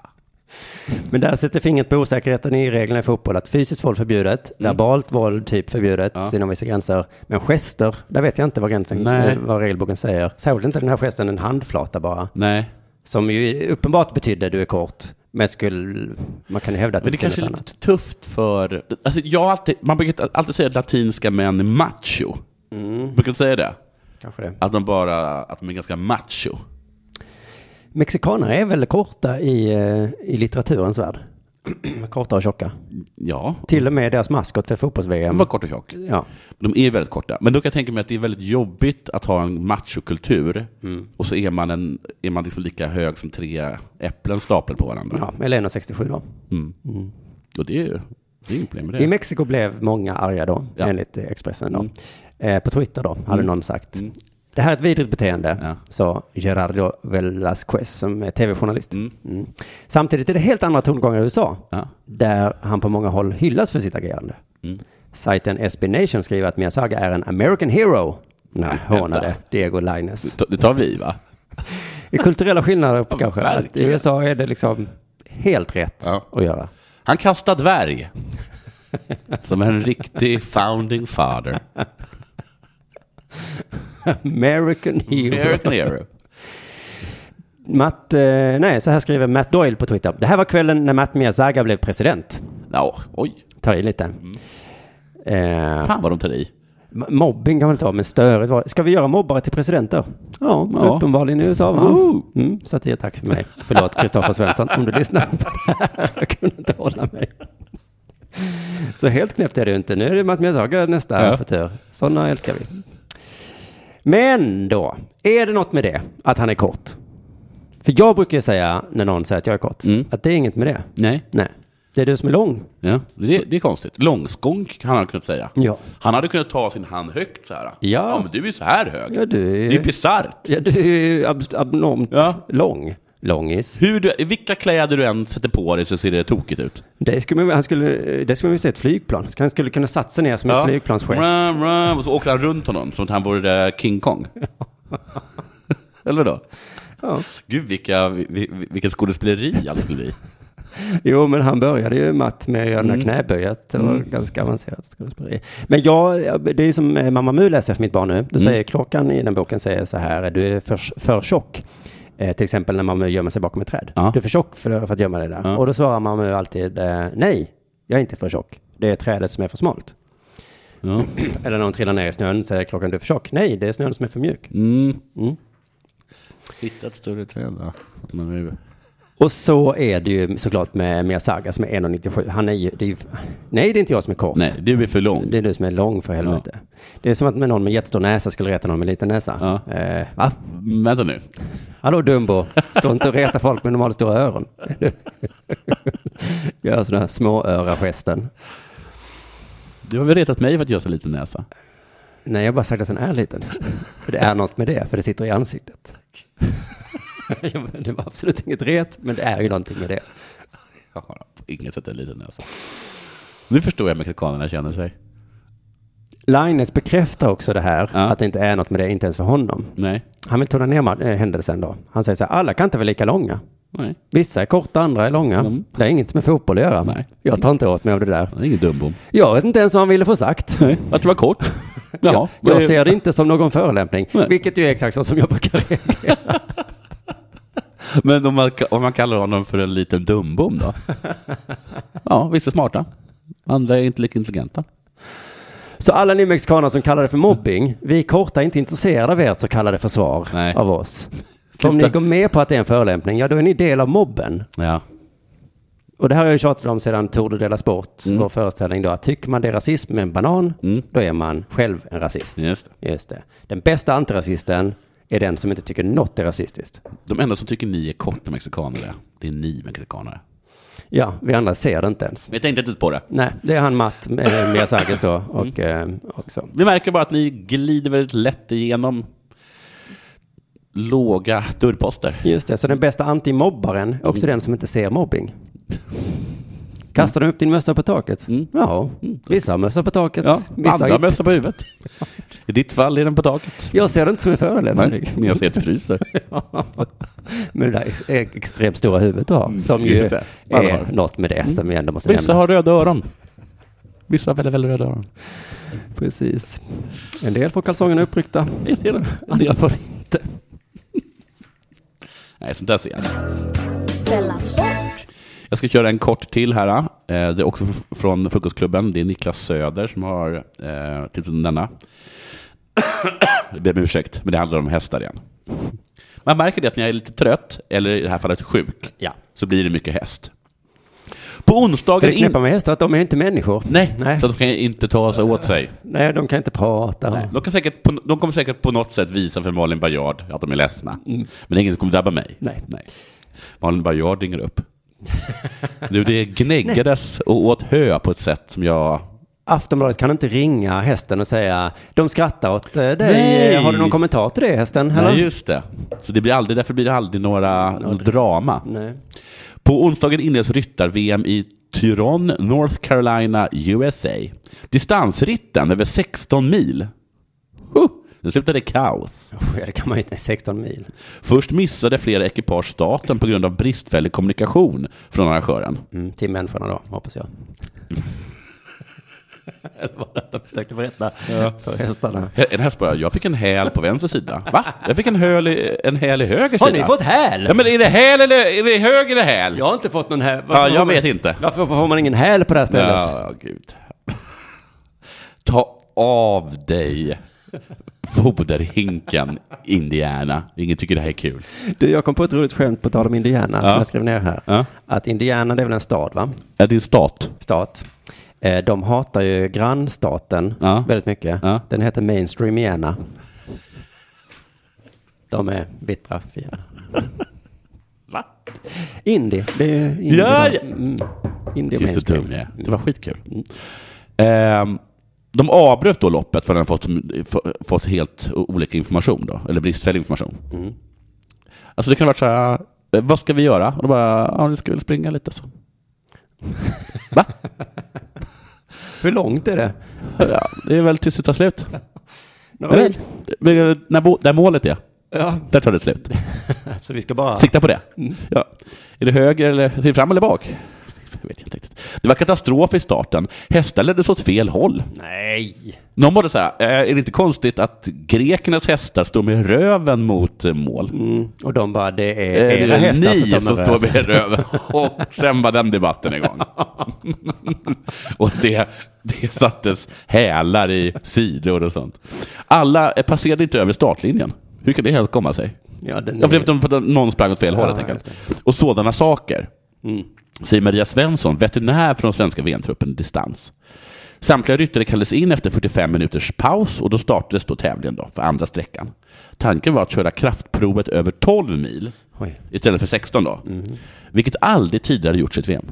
S1: Men där sätter fingret på osäkerheten i reglerna i fotboll. Att fysiskt våld förbjudet, verbalt våld typ förbjudet
S2: Mm. Ja.
S1: inom vissa gränser. Men gester, där vet jag inte vad, gränsen,
S2: Nej.
S1: eh, vad regelboken säger. Särskilt inte den här gesten, en handflata bara.
S2: Nej.
S1: Som ju uppenbart betydde du är kort. Men skulle, man kan ju hävda att
S2: Men
S1: betyder
S2: det kanske är
S1: något
S2: lite tufft för... Alltså jag har alltid, man brukar alltid säga att latinska män är macho. Brukar du säga det?
S1: annat. Kanske det.
S2: Att de bara att de är ganska macho.
S1: Mexikaner är väl korta i, eh, i litteraturens värld. korta och tjocka.
S2: Ja,
S1: Till och med deras maskot för
S2: de
S1: fotbolls-VM.
S2: var kort och tjock.
S1: Ja.
S2: De är väldigt korta. Men då kan jag tänka mig att det är väldigt jobbigt att ha en machokultur och så är man, en, är man liksom lika hög som tre äpplen staplade på varandra.
S1: ja, eller 1,67 då.
S2: Mm. Och det är ju det är inget problem med det.
S1: I Mexiko blev många arga då,
S2: Ja.
S1: enligt eh, Expressen då.
S2: Mm.
S1: Eh, på Twitter då, hade någon sagt.
S2: Mm.
S1: Det här är ett vidrigt beteende,
S2: Ja.
S1: sa Gerardo Velasquez som är tv-journalist.
S2: Mm.
S1: Mm. Samtidigt är det helt andra tongångar i USA,
S2: Ja.
S1: där han på många håll hyllas för sitt agerande.
S2: Mm.
S1: Sajten SB Nation skriver att Miyazaga är en American hero. när han
S2: vänta.
S1: hånade Diego Linus.
S2: Det tar- Det tar vi va?
S1: I kulturella skillnader kanske. Att I
S2: verkligen.
S1: USA är det liksom helt rätt
S2: Ja.
S1: att göra.
S2: Han kastar dvärg. Som en riktig founding father.
S1: American hero.
S2: American hero.
S1: Matt, eh, nej, så här skriver Matt Doyle på Twitter. Det här var kvällen när Matt Miyazaga blev president.
S2: Ja, oj.
S1: Tar i lite.
S2: Mm.
S1: Eh,
S2: Fan vad de tar i.
S1: m- mobbing kan man ta, men störigt var Ska vi göra mobbare till presidenter? Ja,
S2: Ja.
S1: uppenbarligen i USA va?
S2: Woo!
S1: Mm, satir, tack för mig. Förlåt Kristoffer Svensson om du lyssnar på det här. Jag kunde inte hålla mig. Så helt knäppt är det ju inte. Nu är det Matt Miyazaga nästa
S2: Ja.
S1: ja. tur. Sådana älskar vi. Men då, är det något med det? Att han är kort? För jag brukar ju säga när någon säger att jag är kort,
S2: Mm.
S1: att det är inget med det.
S2: Nej.
S1: Nej. Det är du som är lång.
S2: Ja, det, det är konstigt. Långskånk han hade kunnat säga.
S1: Ja.
S2: Han hade kunnat ta sin hand högt så här. ja men du är så här hög.
S1: Ja, du är-
S2: Det är bisarrt.
S1: Ja, du är ju ab- abnormt
S2: Ja.
S1: lång. Långis.
S2: Hur du, vilka kläder du än sätter på dig så ser det tokigt ut.
S1: Det skulle man, han skulle, det skulle man vilja se ett flygplan. Han skulle kunna satsa ner som en flygplansgest.
S2: Rum, rum, och så åker han runt honom som att han vore eh, King Kong. Eller då?
S1: Ja.
S2: Gud, vilka, vil- vilket skådespeleri allt skulle bli.
S1: Jo, men han började ju matt med att göra den
S2: Mm.
S1: här knäböjet. Det var ganska avancerat skådespeleri. Men jag, det är ju som eh, Mamma Mu läser för mitt barn nu. Då
S2: Mm.
S1: säger Kråkan i den boken säger så här, du är för, för tjock. Eh, till exempel när Mamma Mu gömmer sig bakom ett träd.
S2: Ja.
S1: Du är för tjock för, för att gömma dig där. Och då svarar Mamma Mu alltid, eh, nej, jag är inte för tjock. Det är trädet som är för smalt.
S2: Ja.
S1: Eller när hon trillar ner i snön säger Kråkan, du är för tjock. Nej, det är snön som är för mjuk.
S2: Hitta ett större träd då. Men nu-
S1: Och så är det ju såklart med Miyazaga som är 1,97. Han är ju, det är ju, nej, det är inte jag som är kort.
S2: Nej, du är för lång.
S1: Det är du som är lång för helvete. Det är som att med någon med jättestor näsa skulle reta någon med liten näsa.
S2: Ja.
S1: Eh, va?
S2: Ah, Vänta nu.
S1: Hallå Dumbo, stå inte och reta folk med normalt stora öron. Gör sådana här småöra-gesten.
S2: Du har väl retat mig för att jag har så liten näsa?
S1: Nej, jag har bara sagt att den är liten. För det är något med det, för det sitter i ansiktet. Ja, men det var absolut inget ret, men det är ju någonting med det.
S2: Jag har på inget sätt en liten näsa. Nu förstår jag hur mexikanerna känner sig.
S1: Linus bekräftar också det här,
S2: Ja.
S1: att det inte är något med det, inte ens för honom.
S2: Nej.
S1: Han vill tona ner ma- eh, händelsen då. Han säger så här, alla kan inte vara lika långa.
S2: Nej.
S1: Vissa är korta, andra är långa.
S2: Mm.
S1: Det är inget med fotboll att göra.
S2: Nej.
S1: Jag tar inte åt mig av det där.
S2: Det är ingen dumbom.
S1: Jag vet inte ens vad han ville få sagt.
S2: Att det var kort. Jaha.
S1: Jag ser det inte som någon förolämpning,
S2: Nej.
S1: vilket ju är exakt så som jag brukar reagera.
S2: Men om man, om man kallar honom för en liten dumbom då? Ja, vissa är smarta. Andra är inte lika intelligenta.
S1: Så alla ni mexikaner som kallar det för mobbing, vi korta är inte intresserade av ert så kallade försvar
S2: Nej.
S1: av oss. För om ni
S2: Sluta.
S1: går med på att det är en förolämpning, ja då är ni del av mobben.
S2: Ja.
S1: Och det här har jag ju tjatat om sedan Tour de Dela Sport,
S2: Mm.
S1: vår föreställning då, att tycker man det är rasism med en banan, då är man själv en rasist.
S2: Just det.
S1: Just det. Den bästa antirasisten är den som inte tycker något är rasistiskt.
S2: De enda som tycker ni är korta mexikanare, det är ni mexikanare.
S1: Ja, vi andra ser det inte ens.
S2: Men jag tänkte inte på det.
S1: Nej, det är han Matt eh, Miyazakis då
S2: Mm.
S1: och eh, också.
S2: Vi märker bara att ni glider väldigt lätt igenom låga dörrposter.
S1: Just det, så den bästa antimobbaren är
S2: Mm.
S1: också den som inte ser mobbing. Kastar du upp din mössa på taket?
S2: Mm.
S1: Ja, vissa har mössa på taket.
S2: Ja,
S1: vissa har
S2: andra
S1: inte.
S2: mössa på huvudet. I ditt fall är den på taket.
S1: Jag ser det inte som en förolämpning.
S2: Nej, men jag ser att du fryser.
S1: Med det där ex- ex- extremt stora huvudet du har. Som ju
S2: just det. Man
S1: är
S2: har.
S1: något med det som vi ändå måste
S2: Vissa
S1: nämna.
S2: har röda öron. Vissa har väldigt, väldigt röda öron.
S1: Precis. En del får kalsongerna uppryckta.
S2: En del, en del får inte. Nej, sånt där ser jag.
S4: Della Sport.
S2: Jag ska köra en kort till här. eh. Det är också f- från Frukostklubben. Det är Niklas Söder som har eh, tittat om denna. Jag ber om ursäkt, men det handlar om hästar igen. Man märker det att när jag är lite trött, eller i det här fallet sjuk,
S1: Ja.
S2: så blir det mycket häst. På
S1: För
S2: onsdagen...
S1: det knäppa med hästar att de är ju inte människor.
S2: Nej,
S1: Nej.
S2: så att de kan inte ta sig åt sig.
S1: Nej, de kan inte prata.
S2: Nej. De, kan säkert, på- de kommer säkert på något sätt visa för Malin Baryard att de är ledsna. Men det är ingen som kommer drabba mig.
S1: Mm. Nej.
S2: Malin Baryard ringer upp. du, det gnäggades och åt hö på ett sätt som jag...
S1: Aftonbladet kan inte ringa hästen och säga de skrattar åt eh, dig.
S2: Nej.
S1: Har du någon kommentar till det hästen? Eller?
S2: Nej, just det. Så det blir aldrig, därför blir det aldrig några något drama.
S1: Nej.
S2: På onsdagen inleds ryttar-VM i Tyrone, North Carolina, USA. Distansritten över 16 mil. Huh. Det slutade i kaos.
S1: Usch, ja, det kan man ju inte. 16 mil.
S2: Först missade flera ekipage starten på grund av bristfällig kommunikation från arrangören.
S1: Mm, till människorna då, hoppas jag. Eller vad det är jag försökte berätta för hästarna.
S2: Hä- En häst bara, jag fick en häl på vänster sida. Va? Jag fick en häl i, en häl i höger
S1: Har
S2: sida.
S1: ni fått häl?
S2: Ja, men är det häl eller är det höger eller häl?
S1: Jag har inte fått någon häl.
S2: Ja, jag
S1: har man-
S2: vet inte.
S1: Varför får man ingen häl på det här stället?
S2: ja gud. Ta av dig foderhinken, Indiana. Ingen tycker det här är kul.
S1: Du, jag kom på ett roligt skämt på tal om Indiana som
S2: Ja.
S1: jag skrev ner här.
S2: Ja.
S1: Att Indiana, det är väl en stad, va?
S2: Ja, det är stat.
S1: Stat. Eh, De hatar ju grannstaten
S2: Ja.
S1: väldigt mycket.
S2: Ja.
S1: Den heter Mainstreamiana. De är bittra fiender.
S2: Va?
S1: Indie, det är ju indie.
S2: Ja,
S1: Mm. Indie
S2: Christer
S1: mainstream.
S2: Tunge. Det var skitkul. Mm. Ehm, de avbröt då loppet för att de fått, få- fått helt o- olika information då, eller bristfällig information. Alltså det kan ha varit så här, "Eh, vad ska vi göra? Och de bara, ja, ni ska väl springa lite så. Va?
S1: Hur långt är det?
S2: Ja, det är väl tills det tar slut.
S1: Nåväl.
S2: Eller? Men, när, bo- där målet är,
S1: Ja,
S2: där tar det slut.
S1: så vi ska bara...
S2: Sikta på det.
S1: Mm.
S2: Ja. Är det höger eller är det fram eller bak? Jag vet inte riktigt. Det var katastrof i starten. Hästar leddes åt fel håll.
S1: Nej.
S2: Någon var det så här, "Eh, är det inte konstigt att grekernas hästar står med röven mot eh, mål?
S1: Mm. Och de bara, det
S2: Eh,
S1: är era hästar
S2: ni
S1: som
S2: som
S1: tar
S2: står
S1: med
S2: med röven. Och sen var den debatten igång. och det, det sattes hälar i sidor och sånt. Alla eh, passerade inte över startlinjen. Hur kan det ens komma sig?
S1: Ja, den
S2: Jag blev
S1: är...
S2: för att någon sprang åt fel håll
S1: Ja, Mm.
S2: helt enkelt. Och sådana saker. Säger Maria Svensson, veterinär från svenska VM-truppen distans. Samtliga ryttare kallades in efter 45 minuters paus och då startades då tävlingen då, för andra sträckan. Tanken var att köra kraftprovet över 12 mil
S1: Oj.
S2: istället för 16 då.
S1: Mm.
S2: Vilket aldrig tidigare gjorts i ett VM.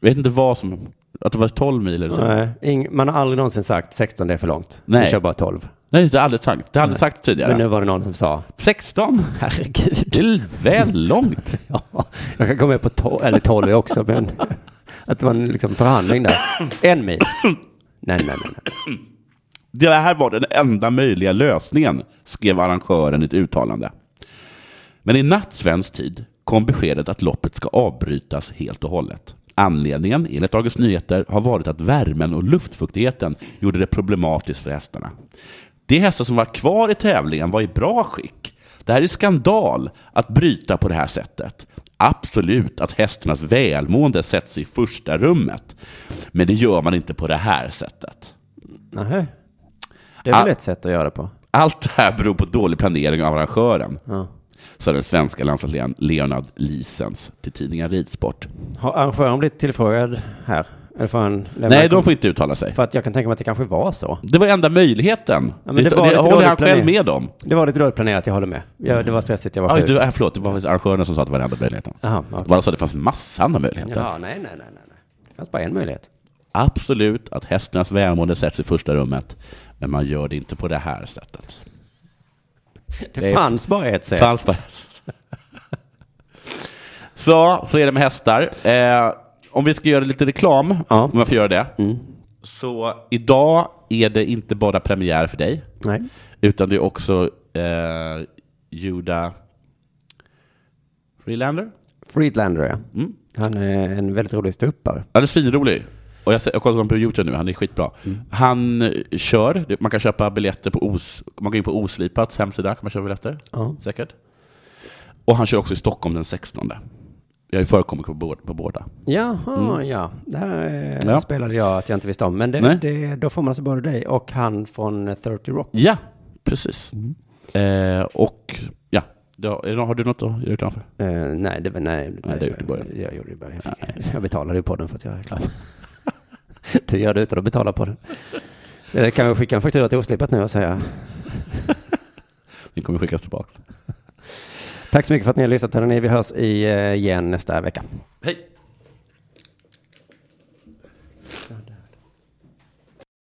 S2: Jag vet inte vad som, att det var 12 mil eller så. Nej,
S1: Nej, ing- man har aldrig någonsin sagt 16 det är för långt.
S2: Nej.
S1: Vi kör bara 12.
S2: det har aldrig sagt, det har aldrig sagt tidigare.
S1: Men nu var det någon som sa,
S2: 16?
S1: herregud.
S2: Det är väl långt.
S1: Ja, jag kan gå med på 12, eller 12 också, men att det var en liksom förhandling där. En mil. Nej, nej, nej. nej.
S2: Det här var den enda möjliga lösningen, skrev arrangören i ett uttalande. Men i natt svensk tid kom beskedet att loppet ska avbrytas helt och hållet. Anledningen, enligt Dagens Nyheter, har varit att värmen och luftfuktigheten gjorde det problematiskt för hästarna. De hästar som var kvar i tävlingen var i bra skick. Det här är skandal att bryta på det här sättet. Absolut att hästarnas välmående sätts i första rummet. Men det gör man inte på det här sättet.
S1: Nähä. Det är väl
S2: Ah.
S1: ett sätt att göra på.
S2: Allt det här beror på dålig planering av arrangören,
S1: Ja.
S2: sa den svenska landslagsledaren Leonard Lisens till tidningen Ridsport.
S1: Har arrangören blivit tillfrågad här? Eller får han lämna
S2: Nej, de får inte uttala sig.
S1: För att jag kan tänka mig att det kanske var så.
S2: Det var enda möjligheten.
S1: Ja, men
S2: det,
S1: det var
S2: det,
S1: lite
S2: håller
S1: dålig
S2: han själv
S1: planering.
S2: med om.
S1: Det var lite dåligt planerat, jag håller med. Ja, det var stressigt, jag var
S2: Aj,
S1: sjuk.
S2: du, äh, förlåt, det var faktiskt arrangören som sa att det var den enda möjligheten.
S1: Jaha,
S2: Det
S1: okej.
S2: var alltså, det fanns massa andra möjligheter.
S1: Jaha, nej, nej, nej, nej. nej. Det fanns bara en möjlighet.
S2: Absolut att hästarnas välmående sätts i första rummet, men man gör det inte på det här sättet.
S1: Det,
S2: Det är-
S1: fanns bara ett sätt.
S2: Fanns bara. Så, så är det med hästar. Eh, om vi ska göra lite reklam,
S1: Ja.
S2: om jag får göra det. Så idag är det inte bara premiär för dig,
S1: Nej.
S2: utan det är också eh, Juda Freelander.
S1: Friedlander, ja.
S2: Mm.
S1: Han är en väldigt rolig ståuppare.
S2: Han är svinrolig. Och jag, ser- jag kollar honom på YouTube nu, han är skitbra. Han eh, kör, Det- man kan köpa biljetter på Os, man går in på Oslipats hemsida, kan man köpa biljetter?
S1: Ja.
S2: Säkert. Och han kör också i Stockholm den 16. Jag har ju förekommit på, båda- på båda.
S1: Jaha, ja. Det här
S2: Ja.
S1: Mm. ja. spelade jag att jag inte visste om. Men
S2: Nej.
S1: det, det, då får man alltså både dig och han från 30 Rock.
S2: Ja, precis. Eh, och ja, det, har- är det- har du något att göra utanför?
S1: Eh, nej, det var nej. Eh,
S2: det gjorde du i början.
S1: Jag gjorde det i början. Jag, fick, jag betalade ju podden för att jag är klar. du gör det utan att betala podden. Eller kan vi skicka en faktura till Oslipat nu och säga
S2: Den kommer skickas tillbaka.
S1: tack så mycket för att ni har lyssnat hörni. Vi hörs i, eh, igen nästa vecka.
S2: Hej!